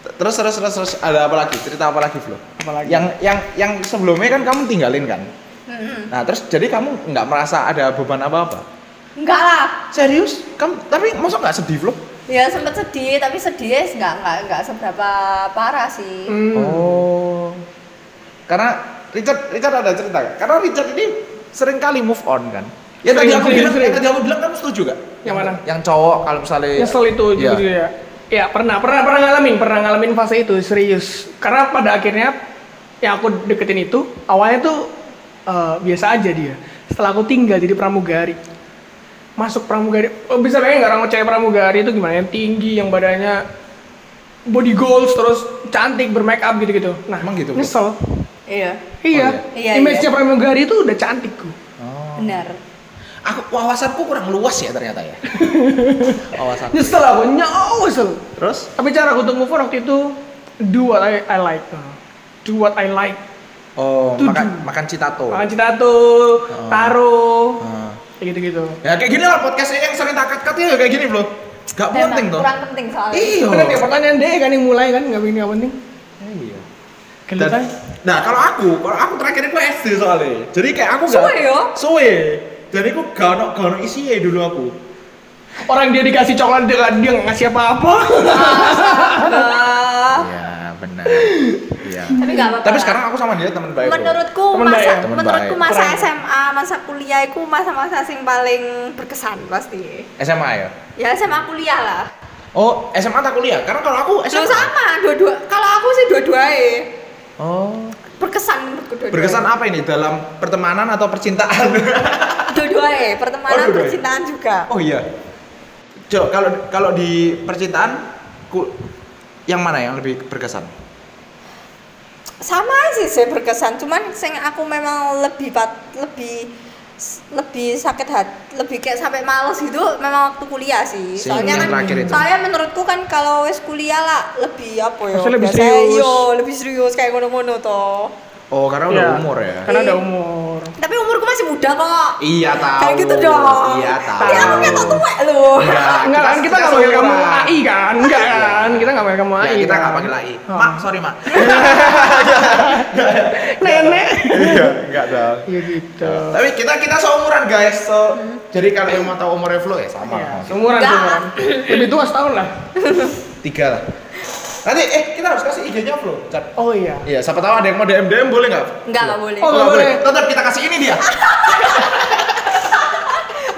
A: T- Terus terus terus terus ada apa lagi? Cerita apa lagi, Flo?
B: Apalagi?
A: Yang yang yang sebelumnya kan kamu tinggalin kan?
B: Hmm.
A: Nah, terus jadi kamu nggak merasa ada beban apa-apa?
C: enggak lah
A: Serius? Kamu tapi masa nggak sedih, Flo?
C: ya sempet sedih tapi sedih ya enggak enggak enggak seberapa parah sih
B: Hmm.
A: Oh. Karena Richard Richard ada cerita nggak? Karena Richard ini sering kali move on kan. Ya tadi
B: Sering,
A: aku
B: sering,
A: bilang,
B: sering.
A: yang tadi aku bilang kamu setuju gak?
B: Yang mana?
A: Yang cowok kalau misalnya
B: nyesel itu
A: Iya.
B: gitu ya ya pernah pernah pernah ngalamin pernah ngalamin fase itu serius karena pada akhirnya yang aku deketin itu awalnya tuh eh, biasa aja dia setelah aku tinggal jadi pramugari masuk pramugari oh, bisa bayangin nggak orang cewek pramugari itu gimana yang tinggi yang badannya body goals terus cantik bermake up gitu gitu nah
A: Emang gitu, Bu?
B: nyesel
C: iya
A: Oh,
B: iya,
C: iya. Iya,
B: image-nya
C: iya.
B: pramugari itu udah cantik ku
A: Oh.
C: benar
A: Aku wawasanku kurang luas ya ternyata ya. Wawasan.
B: nyesel aku
A: oh,
B: nyesel
A: Terus
B: Tapi cara aku untuk move on waktu itu do what I, I like. Do what I like.
A: oh,
B: Tujuh.
A: makan makan citato.
B: Makan tuh,
A: Oh.
B: taro,
A: Ah.
B: kayak gitu-gitu.
A: Ya kayak gini lah podcastnya yang sering takat katnya kayak gini, Bro. Gak penting
C: Memang
A: toh.
C: kurang penting soalnya
A: Iya.
B: Bener kayak pertanyaan deh kan yang mulai kan nggak penting nggak penting.
A: Iya.
C: Gitu
B: Gelut
C: kan?
A: Dan-
B: aja.
A: nah kalau aku, kalau aku terakhir itu SD soalnya. Jadi kayak aku
C: Suwe yo.
A: Suwe. Jadi aku gak ono gak ono isinya dulu aku.
B: Orang dia dikasih coklat dia nggak- dia nggak ngasih apa-apa.
C: Ah,
A: Iya benar. Iya.
C: tapi enggak apa-apa
A: Tapi
C: lah.
A: sekarang aku sama dia teman baik. Bro.
C: menurutku
B: Temen
C: masa
B: baik ya?
A: Temen
C: menurutku
A: baik.
C: masa
B: Kurang.
C: SMA masa kuliah itu masa-masa sing paling berkesan pasti
A: SMA ya.
C: ya SMA kuliah lah
A: Oh, SMA tak kuliah. Karena kalau aku
C: Loh,
A: SMA.
C: sama dua-dua kalau aku sih dua-duanya
A: Oh.
C: berkesan menurutku dua-duanya
A: Berkesan apa ini dalam pertemanan atau percintaan? Oh,
C: dua-duanya pertemanan
A: dua-duanya.
C: percintaan juga
A: oh iya. Cok, kalau kalau di percintaan ku, yang mana yang lebih berkesan?
C: sama sih saya berkesan cuman sing aku memang lebih pat, lebih lebih sakit hati lebih kayak sampai males gitu memang waktu kuliah sih
A: Sing
C: soalnya
A: yang
C: kan
A: terakhir itu.
C: soalnya menurutku kan kalau wes kuliah lah lebih apa ya iya,
B: Maksudnya lebih
C: biasanya
B: serius.
C: yo lebih serius kayak ngono-ngono toh
A: Oh, karena udah umur ya.
B: Iya. Karena udah umur.
C: Tapi umurku masih muda kok.
A: Iya tahu.
C: Kayak gitu dong.
A: Iya tahu.
C: Tapi aku ketok tua loh.
A: Iya,
B: Enggak kan kita nggak panggil kamu AI kan? Enggak kan? Kita nggak panggil kamu
A: Ya,
B: AI.
A: kita
B: kan?
A: nggak panggil AI.
B: Oh.
A: Mak, sorry mak.
B: Nenek.
A: Iya, enggak dong.
B: Iya gitu.
A: Tapi kita kita seumuran guys. So, jadi kalian mau tahu umurnya Flo ya sama.
B: Ya, seumuran
C: Enggak.
B: seumuran. Lebih tua setahun lah.
A: Tiga lah. Nanti eh kita harus kasih IG-nya Flo. Cat.
B: Oh iya.
A: Iya, siapa tahu ada yang mau DM DM boleh nggak?
C: Enggak, enggak boleh.
B: Oh,
A: Nggak
B: nggak
A: boleh.
B: boleh.
A: Tetap kita kasih ini dia.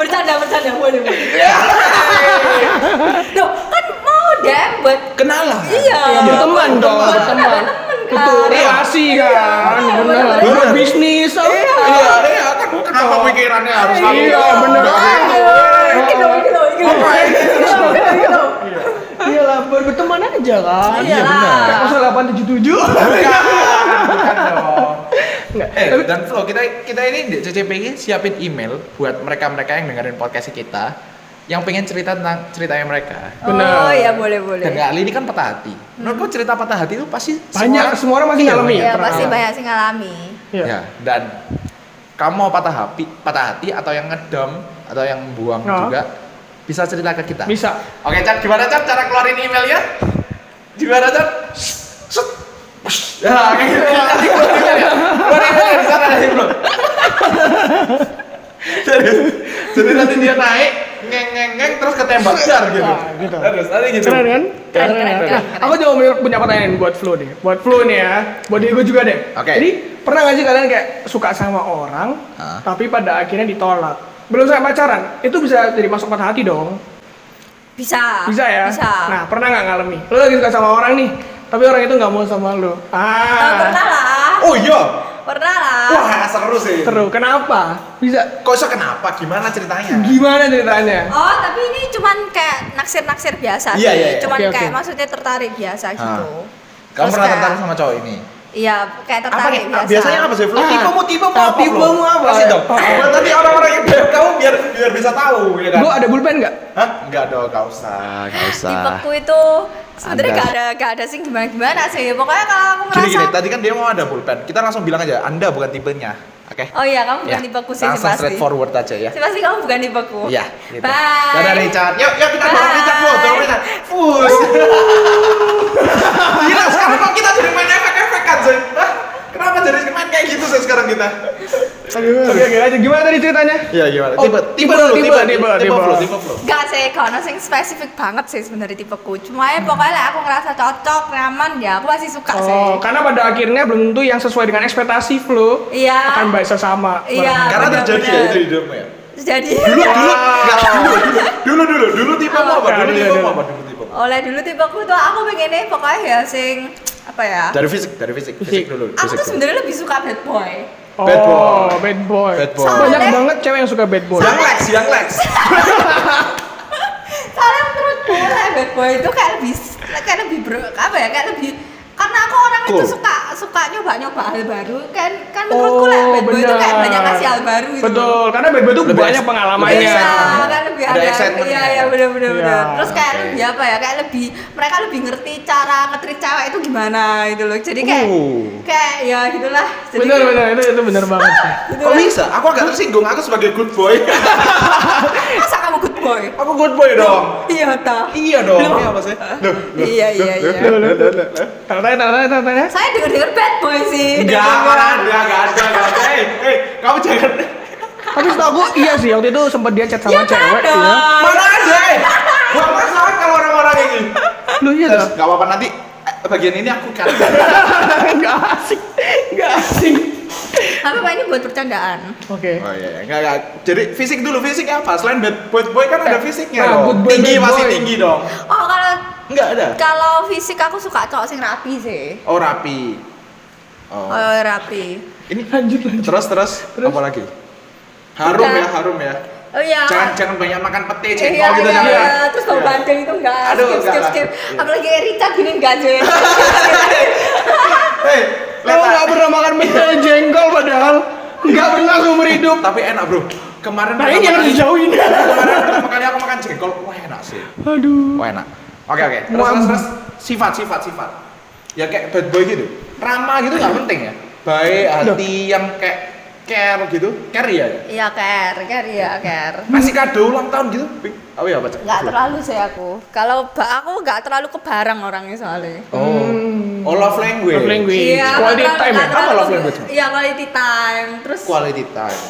C: Bercanda, bercanda. Boleh, boleh.
A: Iya.
C: Loh, kan mau DM buat
A: Kenalan.
C: Iya.
B: Ya, berteman dong,
A: berteman.
B: berteman.
C: Berteman, kan?
B: Betul,
A: Iya.
B: relasi kan.
C: Iya,
B: Benar.
C: benar.
B: Buat bisnis. oh.
A: Iya, iya, kan kenapa pikirannya harus
B: Iya,
A: Ah,
B: bener.
C: Ini dong, ini dong, ini dong. Ini dong.
B: Iya lah, buat berteman aja
A: Ah,
B: kan.
C: Iya lah.
B: Kayak pasal 877.
A: Bukan dong.
B: Enggak.
A: Eh,
B: Tapi-
A: dan Flo, kita kita ini di CCPG siapin email buat mereka-mereka yang dengerin podcast kita yang pengen cerita tentang ceritanya mereka.
B: Benar.
C: Oh iya boleh boleh.
A: Dan kali ini kan patah hati. Menurutku cerita patah hati itu pasti
B: Hmm. Banyak, semua orang pasti
A: Iya,
B: ngalamin.
A: banyak.
C: Ya
B: pernah.
C: pasti banyak sih ngalami.
B: Iya.
A: Ya, dan kamu mau patah hati, patah hati atau yang ngedam atau yang buang
B: Oh.
A: juga bisa cerita ke kita.
B: Bisa.
A: Oke, Cat, gimana Cat cara keluarin emailnya? Gimana Cat? Set. Ya, kayak gitu. Nanti keluar emailnya. Keluar emailnya di sana nanti, Bro. Jadi, jadi nanti dia naik ngeng ngeng ngeng terus ketembak jar gitu.
B: Nah, gitu.
A: Terus nanti gitu.
B: Keren kan?
C: Keren, keren,
B: kan?
C: keren,
B: Nah,
C: keren.
B: aku juga punya- punya pertanyaan buat Flo nih. Buat Flo nih ya. Buat Diego juga deh.
A: Oke.
B: Jadi, pernah gak sih kalian kayak suka sama orang,
A: Hah?
B: tapi pada akhirnya ditolak? Belum saya pacaran, itu bisa jadi masuk patah hati dong.
C: Bisa.
B: Bisa ya?
C: Bisa.
B: Nah, pernah gak ngalami? Lo lagi suka sama orang nih, tapi orang itu gak mau sama lo.
C: Eh,
B: Ah,
C: pernah lah.
A: Oh iya.
C: Pernah lah.
A: Wah, seru sih.
B: seru. Kenapa? Bisa.
A: Kok bisa kenapa? Gimana ceritanya?
B: Gimana ceritanya?
C: Oh, tapi ini cuman kayak naksir-naksir biasa
A: Iya,
C: sih.
A: iya, iya.
C: Cuman
B: Oke, oke.
C: kayak maksudnya tertarik biasa gitu.
A: Kamu
C: Terus
A: pernah
C: kayak-
A: tertarik sama cowok ini?
C: Iya, kayak
A: Apa
C: tertarik
A: nih?
C: biasa.
A: Biasanya apa sih? Flo?
B: Ah.
A: Tipemu tipemu
B: Ah,
A: apa? Flo?
B: tipemu apa?
A: Kasih dong.
B: Ah.
A: Buat nanti orang-orang yang DM kamu biar biar bisa tahu ya kan?
B: Gue ada bullpen gak?
A: Hah? Enggak dong, enggak usah, enggak usah.
C: Tipeku itu sebenarnya
A: Ada.
C: gak ada gak ada sih gimana gimana sih. Pokoknya kalau aku
A: Gini
C: merasa
A: gini, tadi kan dia mau ada pulpen. Kita langsung bilang aja, Anda bukan tipenya. Oke.
C: Oh iya, kamu
A: Ya.
C: bukan tipeku sih
A: Langsung
C: pasti.
A: straight forward aja ya.
C: Sih pasti kamu bukan tipeku.
A: Iya, gitu.
C: Bye.
A: Dadah Richard. Yuk, yuk kita dorong
C: Bye.
A: Richard, Flo, dorong Richard. Fus. Gila, sekarang kok kita jadi main efek-efekan, Zoy? Hah? Kenapa jadi main kayak gitu sih sekarang kita?
B: Oke, oke aja. Gimana tadi ceritanya?
A: Iya, gimana?
B: Oh,
A: Tipe, tipe
B: tipe,
A: dulu,
B: tipe,
A: tipe,
B: tipe,
A: tipe, tipe,
B: tipe.
A: Flo, tipe, Flo.
C: Gak sih, kalau sing spesifik banget sih sebenarnya tipeku. Cuma ya pokoknya lah aku ngerasa cocok, nyaman ya, aku masih suka sih.
B: Oh, karena pada akhirnya belum tentu yang sesuai dengan ekspektasi Flo
C: Iya.
B: akan bisa sama.
C: Iya.
A: Karena
C: benar,
A: terjadi ya
C: benar.
A: itu hidupmu ya.
C: Jadi
A: Dulu, dulu, enggak, dulu, dulu, dulu, dulu tipe
B: Oh,
A: apa? Dulu
B: iya,
A: tipe
B: iya.
A: apa? Dulu tipe apa?
C: oleh dulu tipeku tuh aku pengennya pokoknya ya sing apa ya?
A: Dari fisik, dari fisik, fisik
B: Fisik.
A: dulu.
C: Aku
A: fisik
C: tuh
A: dulu.
C: sebenarnya lebih suka bad boy.
B: Oh,
A: Bad boy.
B: Bad boy.
A: Bad boy.
B: Banyak
C: Soalnya-
B: banget cewek yang suka bad boy.
A: Yang Lex, yang Lex.
C: Soalnya menurutku lah bad boy itu kayak lebih kayak lebih bro, apa ya? Kayak lebih karena aku orang itu
A: Cool. Oh,
C: suka suka nyoba-nyoba hal baru kan kan menurutku lah bad boy itu kayak
B: Oh, benar.
C: banyak ngasih hal baru gitu.
B: Betul, karena bad boy itu
A: Lebih
B: banyak
A: ex-
B: pengalamannya.
A: lebih
C: Iya,
A: excitement.
C: kan lebih
A: Ada
C: ada,
A: excitement.
C: iya iya benar benar
B: Iya,
C: benar. Terus kayak
A: oke.
C: lebih apa ya? Kayak lebih mereka lebih ngerti cara ngetrit cewek itu gimana gitu loh. Jadi kayak
A: Uh.
C: kayak ya gitulah. Jadi
B: Bener bener itu itu bener banget. sih.
C: Gitu
A: Kok
C: lah.
A: bisa? Aku agak tersinggung, aku sebagai good boy.
B: Iya,
C: Eh, Masa kamu good boy?
A: aku good boy dong.
C: Iya toh.
A: Iya dong.
C: Belum.
A: Iya apa sih? Loh,
C: Iya iya iya.
B: Loh, loh, loh. Tanda tanya tanda tanya tanda tanya.
C: Saya denger denger bad boy
B: Iya,
C: sih.
A: Enggak, enggak ada, enggak ada, enggak ada. Hei, hei, kamu jangan.
B: Tapi setahu gue iya sih waktu itu sempat dia chat
C: Ya
B: sama
C: kan
B: cewek.
C: dong.
B: Iya.
A: Mana ada? eh? Gak masalah kalau orang-orang ini.
B: Lu iya
A: Terus
B: dah.
A: enggak apa-apa nanti eh, bagian ini aku kan.
B: Enggak asik. Enggak asik.
C: Tapi apa ini buat percandaan?
B: Oke.
A: Oh iya, enggak enggak. Jadi fisik dulu, fisik apa? Selain bad bad boy kan ada fisiknya
B: Nah, good
A: dong.
B: boy,
A: Tinggi
B: bad
A: masih
B: boy.
A: tinggi dong.
C: Oh kalau
A: Enggak ada.
C: kalau fisik aku suka cowok sing rapi sih.
A: Oh, rapi.
C: Oh,
A: Oh.
C: rapi.
A: Ini
B: Lanjut lanjut.
A: terus terus,
B: Terus?
A: apa lagi? Harum
C: Udah.
A: ya, harum ya.
C: Oh iya.
A: Jangan jangan banyak makan pete,
C: Iya,
A: cengkol gitu
C: iya,
A: jangan.
C: iya. terus bau
A: Iya.
C: bandeng itu enggak,
A: Aduh,
C: skip,
A: enggak
C: skip,
A: lah.
C: skip.
A: Iya.
C: Apalagi Erita gini enggak, Joy.
A: Hei,
B: Kamu
A: letak.
B: nggak pernah makan pecel jengkol padahal nggak pernah seumur hidup.
A: Tapi enak, Bro. Kemarin
B: Nah ini jangan
A: kali-
B: dijauhin.
A: Kemarin pertama kali aku makan jengkol, wah enak sih.
B: Aduh.
A: Wah enak. Oke oke. Terus
B: Muam.
A: terus terus sifat sifat sifat. Ya kayak bad boy gitu. Ramah gitu nggak penting ya. baik hati yang kayak care gitu care ya
C: Iya, care, care ya, care.
A: masih kado ulang tahun gitu Pink. oh iya baca
C: Enggak terlalu sih aku. Kalau ba- aku enggak terlalu kebarang orangnya soalnya. Iya,
A: oh oh love language
B: Hmm. Love language. Quality
C: nggak terlalu-
B: time ya?
C: nggak
A: Apa
C: terlalu-
A: love language?
C: Iya, quality time. Terus
A: quality time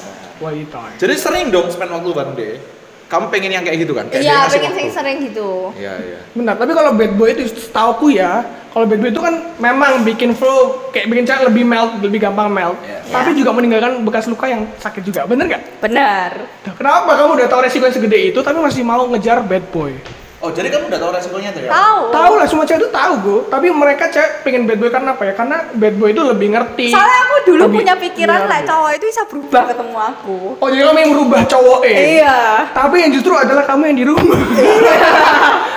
B: Quality time.
A: jadi sering dong spend waktu bareng deh kamu pengen yang kayak gitu kan Kayak
C: iya,
A: dia ngasih
C: pengen
A: waktu.
C: sering sering gitu.
A: iya iya
B: Benar, tapi kalau bad boy itu setauku ya, kalau bad boy itu kan memang bikin flow kayak bikin cewek lebih melt, lebih gampang melt.
A: Iya.
B: Tapi juga meninggalkan bekas luka yang sakit juga, bener nggak?
C: Benar.
B: Nah, Kenapa kamu udah tahu resiko yang segede itu tapi masih mau ngejar bad boy?
A: oh jadi kamu udah tahu resikonya tuh ya
C: Tahu.
B: Tahu lah semua cewek itu tahu gue, tapi mereka cewek pengen bad boy karena apa ya? Karena bad boy itu lebih ngerti.
C: Soalnya aku dulu
B: Lebih-
C: punya pikiran
B: Iya.
C: lah cowok itu bisa berubah ketemu aku.
B: Oh jadi kamu yang merubah cowok eh?
C: Iya.
B: Tapi yang justru adalah kamu yang di rumah.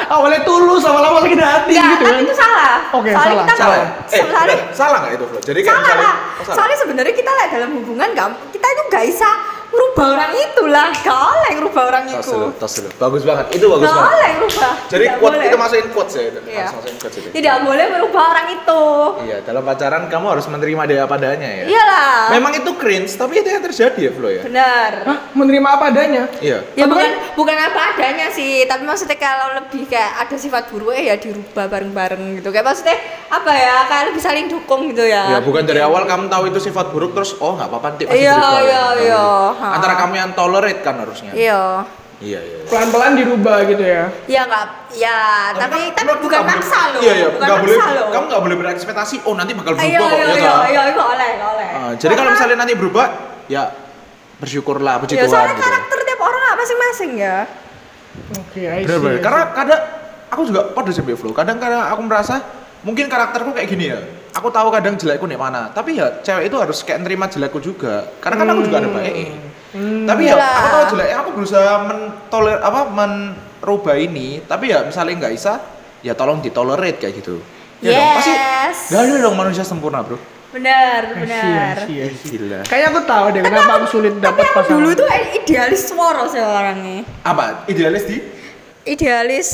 B: Awalnya tulus, lama-lama sakit hati
C: Enggak,
B: gitu
C: tapi
B: kan?
C: itu salah.
B: Oke,
C: soalnya
B: salah,
C: kita
A: salah ya? eh
C: soalnya
A: bener, salah nggak itu Flo? jadi kayak
C: salah
A: misalnya-
C: lah.
A: oh, salah.
C: Soalnya sebenarnya kita lah dalam hubungan nggak, kita itu nggak bisa merubah orang itu lah. Gak oleh ngerubah orang
A: tos
C: itu.
A: dulu tos dulu bagus banget itu bagus
C: Gak
A: banget
C: oleh merubah.
A: jadi
C: Tidak
A: quote
C: boleh.
A: kita masukin quotes ya itu.
C: Iya.
A: Harus masukin quotes itu
C: Tidak boleh merubah orang itu. Iya
A: iya dalam pacaran kamu harus menerima dia apa adanya ya
C: Iyalah.
A: memang itu cringe tapi itu yang terjadi ya Flo ya
C: Benar.
B: Hah? Menerima apa adanya?
A: iya
C: Ya
B: Tapi
C: bukan
B: kan-
C: bukan apa adanya sih, tapi maksudnya kalau lebih kayak ada sifat buruknya ya dirubah bareng-bareng gitu. Kayak maksudnya apa ya? Kayak lebih saling dukung gitu ya.
A: Ya bukan dari awal kamu tahu itu sifat buruk terus oh nggak apa-apa nanti masih
C: Iya,
A: berubah ya.
C: iya,
A: Nggak
C: iya.
A: boleh.
C: Ha.
A: Antara kamu yang tolerate kan harusnya.
C: Iya.
A: Iya iya.
B: Pelan-pelan dirubah gitu ya.
C: Ya nggak, ya tapi tapi,
A: Menurut kan
C: bukan
A: kamu-
C: maksa loh.
A: Iya iya.
C: bukan
A: Nggak boleh.
C: maksa loh. Iya,
A: Kamu nggak boleh berekspektasi oh nanti bakal berubah
C: Ayo,
A: kok
C: ayo,
A: ya
C: ayo,
A: toh.
C: ayo, ayo, oleh, oleh.
A: Ah, jadi kalau misalnya nanti berubah ya bersyukurlah puji
C: ya,
A: Tuhan.
C: soalnya
A: gitu.
C: karakter tiap orang nggak masing-masing ya.
B: Oke, I see.
A: Bener bener. Karena kadang aku juga pada sih Mbak Flo. Kadang kadang aku merasa mungkin karakterku kayak gini ya. Aku tahu kadang jelekku nih mana. Tapi ya cewek itu harus kayak nerima jelekku juga. Karena kan aku juga ada baiknya.
C: Hmm.
A: Tapi ya
C: Gila.
A: aku tahu jeleknya. Aku berusaha mentoler apa merubah ini. Tapi ya misalnya nggak bisa, ya tolong ditolerate kayak gitu. Ya dong, pasti
C: Yes.
A: nggak ada dong manusia sempurna bro.
B: I
C: Benar,
B: see,
C: benar.
B: I see, I see.
A: Iya, Gila.
B: Kayaknya aku tahu deh kenapa aku sulit
C: Tapi
B: dapat
C: aku
B: pasangan.
C: dulu tuh idealis suara sih orangnya.
A: Apa idealis di?
C: Idealis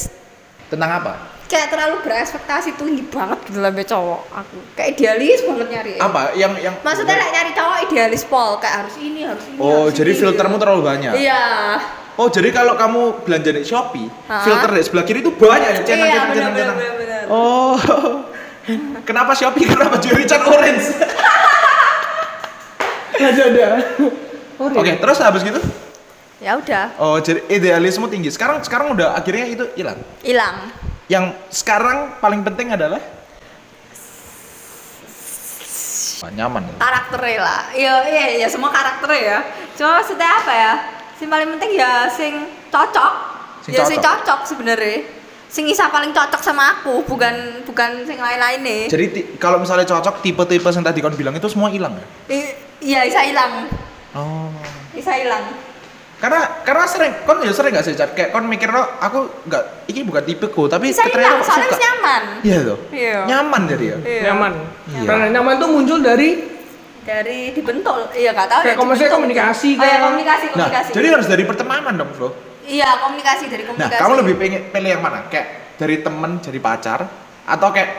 A: Tentang apa?
C: kayak terlalu berekspektasi tinggi banget gitu lah sama cowok aku. Kayak idealis banget nyari.
A: Apa yang yang?
C: Maksudnya lah nyari cowok idealis pol kayak harus ini, harus ini.
A: Oh
C: harus
A: jadi
C: ini,
A: filtermu
C: gitu.
A: terlalu banyak.
C: Iya.
A: Oh jadi kalau kamu belanja di Shopee,
C: Ha?
A: filter di sebelah kiri itu banyak ya cenan
C: Iya,
A: cenan cenan
C: benar-benar
A: cenan.
C: benar.
A: Oh. Kenapa Shopee? Kenapa jurican orange?
B: Aja ada.
A: Oke, terus habis gitu?
C: Ya udah,
A: Oh, jadi idealisme tinggi. Sekarang sekarang udah akhirnya itu hilang.
C: hilang.
A: Yang sekarang paling penting adalah Wah, nyaman.
C: karakternya lah iya iya iya semua karakternya ya cuma maksudnya apa ya sing paling penting ya sing cocok
A: Sing
C: ya sing
A: cocok.
C: cocok sebenarnya sing isa paling cocok sama aku bukan bukan sing lain-lain nih
A: Jadi ti- kalau misalnya cocok tipe-tipe yang tadi kau bilang itu semua hilang ya?
C: I- iya isa hilang
A: Oh.
C: isa hilang
A: Karena karena sering kon ya sering gak sih Cat? kayak kon mikir "Oh, aku nggak ini bukan tipeku tapi
C: isa hilang
A: ternyata aku
C: soalnya
A: suka."
C: wis nyaman
A: Iya tuh.
C: Iya.
A: Nyaman jadi ya.
C: Iya.
B: Nyaman.
A: Iya.
B: Karena nyaman tuh muncul dari
C: dari dibentuk iya gak tahu
B: Kayak
C: ya,
B: komunikasi-
C: dibentuk.
B: komunikasi
C: oh, iya,
B: kan.
C: komunikasi
A: Nah,
C: komunikasi
A: jadi harus dari pertemanan dong, Bro.
C: iya komunikasi dari
A: Nah,
C: komunikasi
A: kamu lebih pengen pilih yang mana? Kayak dari temen jadi pacar atau kayak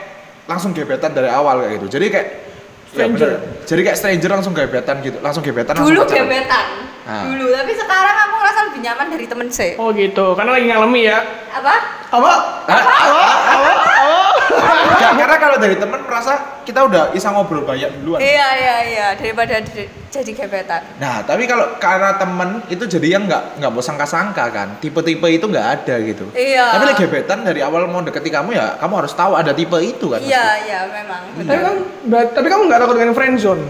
A: langsung gebetan dari awal kayak gitu. Jadi kayak ya
B: Stranger.
A: bener. Jadi kayak stranger langsung gebetan gitu, langsung gebetan langsung
C: dulu
A: pacaran.
C: gebetan
A: Ah.
C: dulu tapi sekarang aku ngerasa lebih nyaman dari temen sih
B: Oh gitu, karena lagi ngalami ya.
C: apa
B: Apa?
A: Hah? Nggak, karena kalau dari temen merasa kita udah bisa ngobrol banyak duluan.
C: Iya iya iya daripada di- jadi gebetan.
A: Nah, tapi kalau karena temen itu jadi yang nggak nggak mau sangka-sangka kan. Tipe-tipe itu nggak ada gitu.
C: Iya.
A: Tapi lagi gebetan dari awal mau deketi kamu ya, kamu harus tahu ada tipe itu kan.
C: Iya iya memang.
B: Tapi kamu, ber- tapi kamu nggak takut dengan friendzone?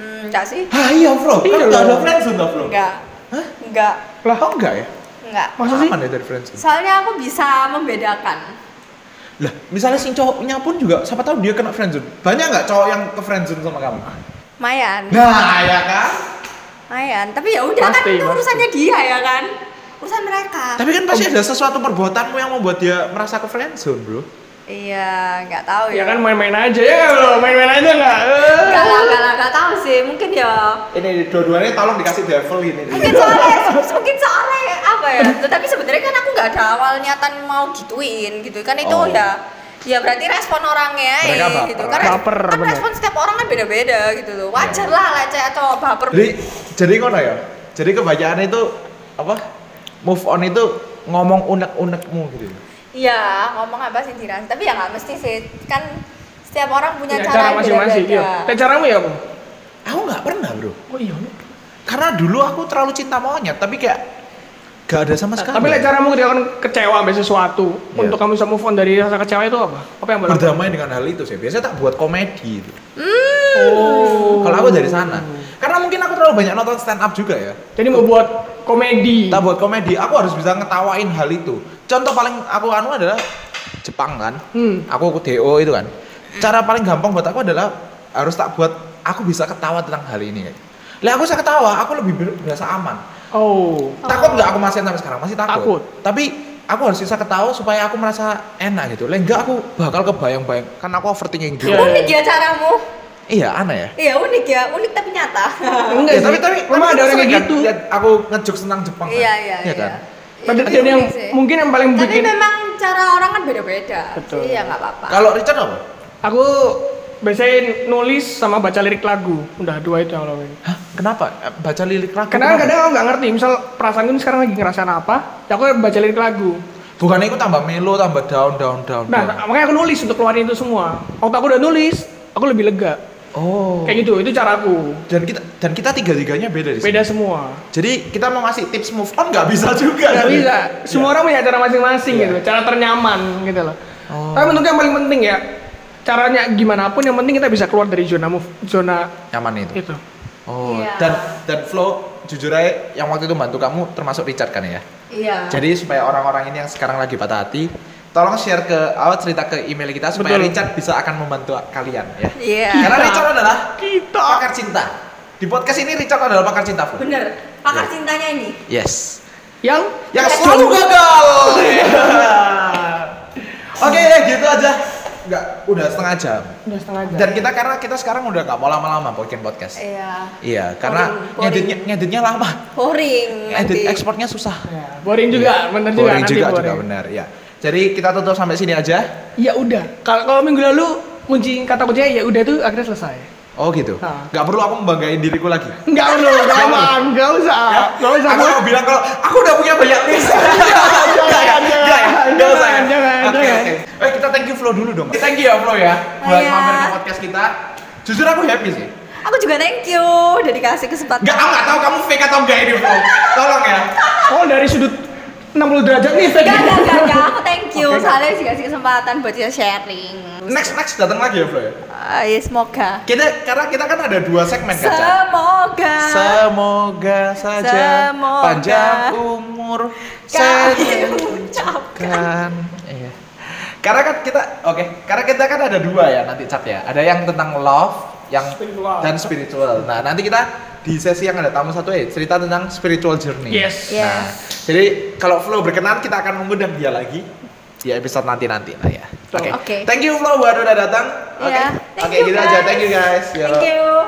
C: Hmm, enggak sih?
A: Hah iya bro,
B: Iya
A: kan udah
B: loh.
A: ada friendzone toh bro?
C: Enggak.
A: Hah?
C: Enggak.
A: Lah oh enggak ya?
C: Enggak.
B: Masa sih?
A: Aman ya dari friendzone?
C: Soalnya aku bisa membedakan.
A: Lah misalnya si cowoknya pun juga, siapa tahu dia kena friendzone Banyak nggak cowok yang ke friendzone sama kamu?
C: Mayan.
A: Nah ya kan?
C: Mayan. Tapi ya udah kan
B: Pasti,
C: itu
B: pasti.
C: urusannya dia ya kan. Urusan mereka.
A: Tapi kan pasti ada sesuatu perbuatanmu yang membuat dia merasa ke friendzone bro
C: Iya, enggak tahu ya.
B: Ya kan main-main aja ya nggak lo, main-main aja nggak? Eh.
C: Enggak lah, enggak lah, enggak tahu sih. Mungkin ya
A: Ini dua-duanya tolong dikasih devil ini
C: mungkin soalnya mungkin soalnya apa ya tetapi sebenarnya kan aku nggak ada awal niatan mau gituin gitu kan itu
A: Oh.
C: ya ya berarti respon orangnya
D: Mereka
C: eh, gitu
D: baper.
C: kan, res-
B: Baper,
C: kan
B: bener.
C: respon setiap orang kan beda-beda gitu loh wajar lah leceh atau baper
A: Jadi jadi ngono ya. Jadi kebanyakan itu apa? Move on itu ngomong unek-unekmu gitu.
C: iya ngomong apa sih dirasa tapi ya nggak mesti sih kan setiap orang punya
B: Ya,
C: cara,
B: cara masing-masing. Iya.
C: beda-beda
B: Kayak caramu ya, Bung?
A: Aku nggak pernah bro.
B: Oh iya.
A: Karena dulu aku terlalu cinta monyet, tapi kayak gak ada sama sekali.
B: Tapi lek caramu ketika kamu kecewa ambil sesuatu,
A: Kan ya. Iya.
B: untuk kamu bisa move on dari rasa kecewa itu apa? Apa yang berlaku?
A: berdamai dengan hal itu sih. Biasanya tak buat komedi gitu.
B: Oh.
A: Kalau aku dari sana. Karena mungkin aku terlalu banyak nonton stand up juga ya.
B: Jadi mau buat komedi.
A: Tak buat komedi, aku harus bisa ngetawain hal itu. Contoh paling aku anu adalah Jepang kan.
B: Hmm.
A: Aku aku DO itu kan. Cara paling gampang buat aku adalah harus tak buat aku bisa ketawa tentang hal ini. Lah aku bisa ketawa, aku lebih ber- berasa aman.
B: Oh.
A: Takut nggak aku masih sampai sekarang? Masih takut.
B: Takut.
A: Tapi aku harus bisa ketawa supaya aku merasa enak gitu. Lah enggak aku bakal kebayang-bayang karena aku overthinking dulu.
B: Iya.
C: unik ya caramu
A: Iya, aneh ya.
C: iya unik ya unik tapi nyata
A: Ya,
B: Enggak sih.
A: tapi tapi tapi aku
B: memang ada orang
A: sering
B: kayak
A: kan
B: gitu.
A: lihat aku ngejuk senang Jepang. kan?
C: iya iya iya
A: kan?
B: Tapi
C: Iya,
B: dan yang
C: unik sih.
B: mungkin yang paling
C: tapi kan-
B: bikin
C: memang cara orang kan beda-beda
B: Betul. Kan
C: iya nggak apa-apa
A: Kalau Richard apa?
B: aku biasanya nulis sama baca lirik lagu. Udah dua itu yang aku lakuin.
A: Hah, kenapa? Eh, Baca lirik lagu.
B: Karena kan
A: kenapa?
B: kadang aku nggak ngerti, misal perasaanku ini sekarang lagi ngerasain apa, ya aku baca lirik lagu.
A: Bukannya itu tambah melo, tambah down, down, down. down.
B: Nah, makanya aku nulis untuk keluarin itu semua. Waktu aku udah nulis, aku lebih lega.
A: Oh.
B: Kayak gitu, itu caraku.
A: Dan kita dan kita tiga-tiganya beda di sini.
B: Beda semua.
A: Jadi kita mau ngasih tips move on nggak bisa juga.
B: Gak
A: Jadi.
B: bisa. Semua orang punya cara masing-masing
A: Iya.
B: gitu, cara ternyaman gitu loh.
A: Oh.
B: Tapi menurutku yang paling penting ya, caranya gimana pun yang penting kita bisa keluar dari zona move, zona
A: Iya. Nyaman itu.
B: itu.
A: Oh.
C: Iya.
A: Dan dan Flo jujur aja yang waktu itu bantu kamu termasuk Richard kan ya.
C: iya
A: Jadi supaya orang-orang ini yang sekarang lagi patah hati, tolong share ke awal cerita ke email kita supaya
B: Betul.
A: Richard bisa akan membantu kalian ya.
C: Iya.
A: Karena Richard adalah
B: Kita.
A: pakar cinta. Di podcast ini Richard adalah pakar cinta. Flo.
C: bener pakar
A: Iya.
C: cintanya ini
A: Yes.
B: Yang
A: Yang selalu gagal. Oke, gitu aja. Enggak, udah setengah jam.
B: udah setengah jam.
A: Dan kita karena kita sekarang udah nggak mau lama-lama bikin podcast.
C: iya
A: Iya, karena
C: Boring, boring.
A: ngeditnya ngeditnya lama.
C: boring
A: Edit
C: nanti
A: ekspornya susah.
B: Ya, boring juga, bener juga.
A: Iya. Boring
B: nanti
A: juga juga
B: boring.
A: benar, ya. Jadi kita tutup sampai sini aja.
B: Ya udah. Kalau kalau minggu lalu kunci kata kuncinya ya udah itu akhirnya selesai.
A: Oh gitu.
B: Nah.
A: Nggak perlu aku membanggain diriku lagi.
B: Enggak perlu, enggak aman, enggak usah. Enggak usah.
A: Aku mau bilang kalau aku udah punya banyak list. Enggak ya, enggak ya,
B: jangan,
A: enggak usah. ya?
B: jangan,
A: Oke,
B: jangan.
A: oke. Eh kita thank you Flo dulu dong. Thank you ya Flo ya buat
C: Iya.
A: mampir ke podcast kita. Jujur aku happy sih.
C: aku juga thank you udah dikasih kesempatan
A: Enggak, aku nggak tahu kamu fake atau enggak ini Flo. Tolong ya.
B: Oh, dari sudut 60 derajat nih.
C: Gak, gak, gak, gak. Aku thank you.
A: Oke, Kak.
C: Soalnya dikasih kesempatan buat kita sharing.
A: Next next datang lagi ya Flo ya.
C: Ah, ya, semoga.
A: Kita karena kita kan ada dua segmen kan. Cak?
C: Semoga.
A: Semoga saja
C: Semoga.
A: panjang umur
C: Kami
A: sehat.
C: ucapkan.
A: kan iya karena kan kita oke karena kita kan ada dua ya nanti chat ya ada yang tentang love yang
B: Spiritual.
A: dan spiritual nah nanti kita di sesi yang ada tamu satu ya cerita tentang spiritual journey
B: Yes.
C: Yes.
A: nah jadi kalau Flo berkenan kita akan mengundang dia lagi di episode nanti nanti lah ya oke
C: Oke.
A: thank you Flo buat udah datang oke
C: Ya. Thank
A: oke
C: you,
A: gitu aja
C: guys.
A: thank you guys Yo.
C: Thank you.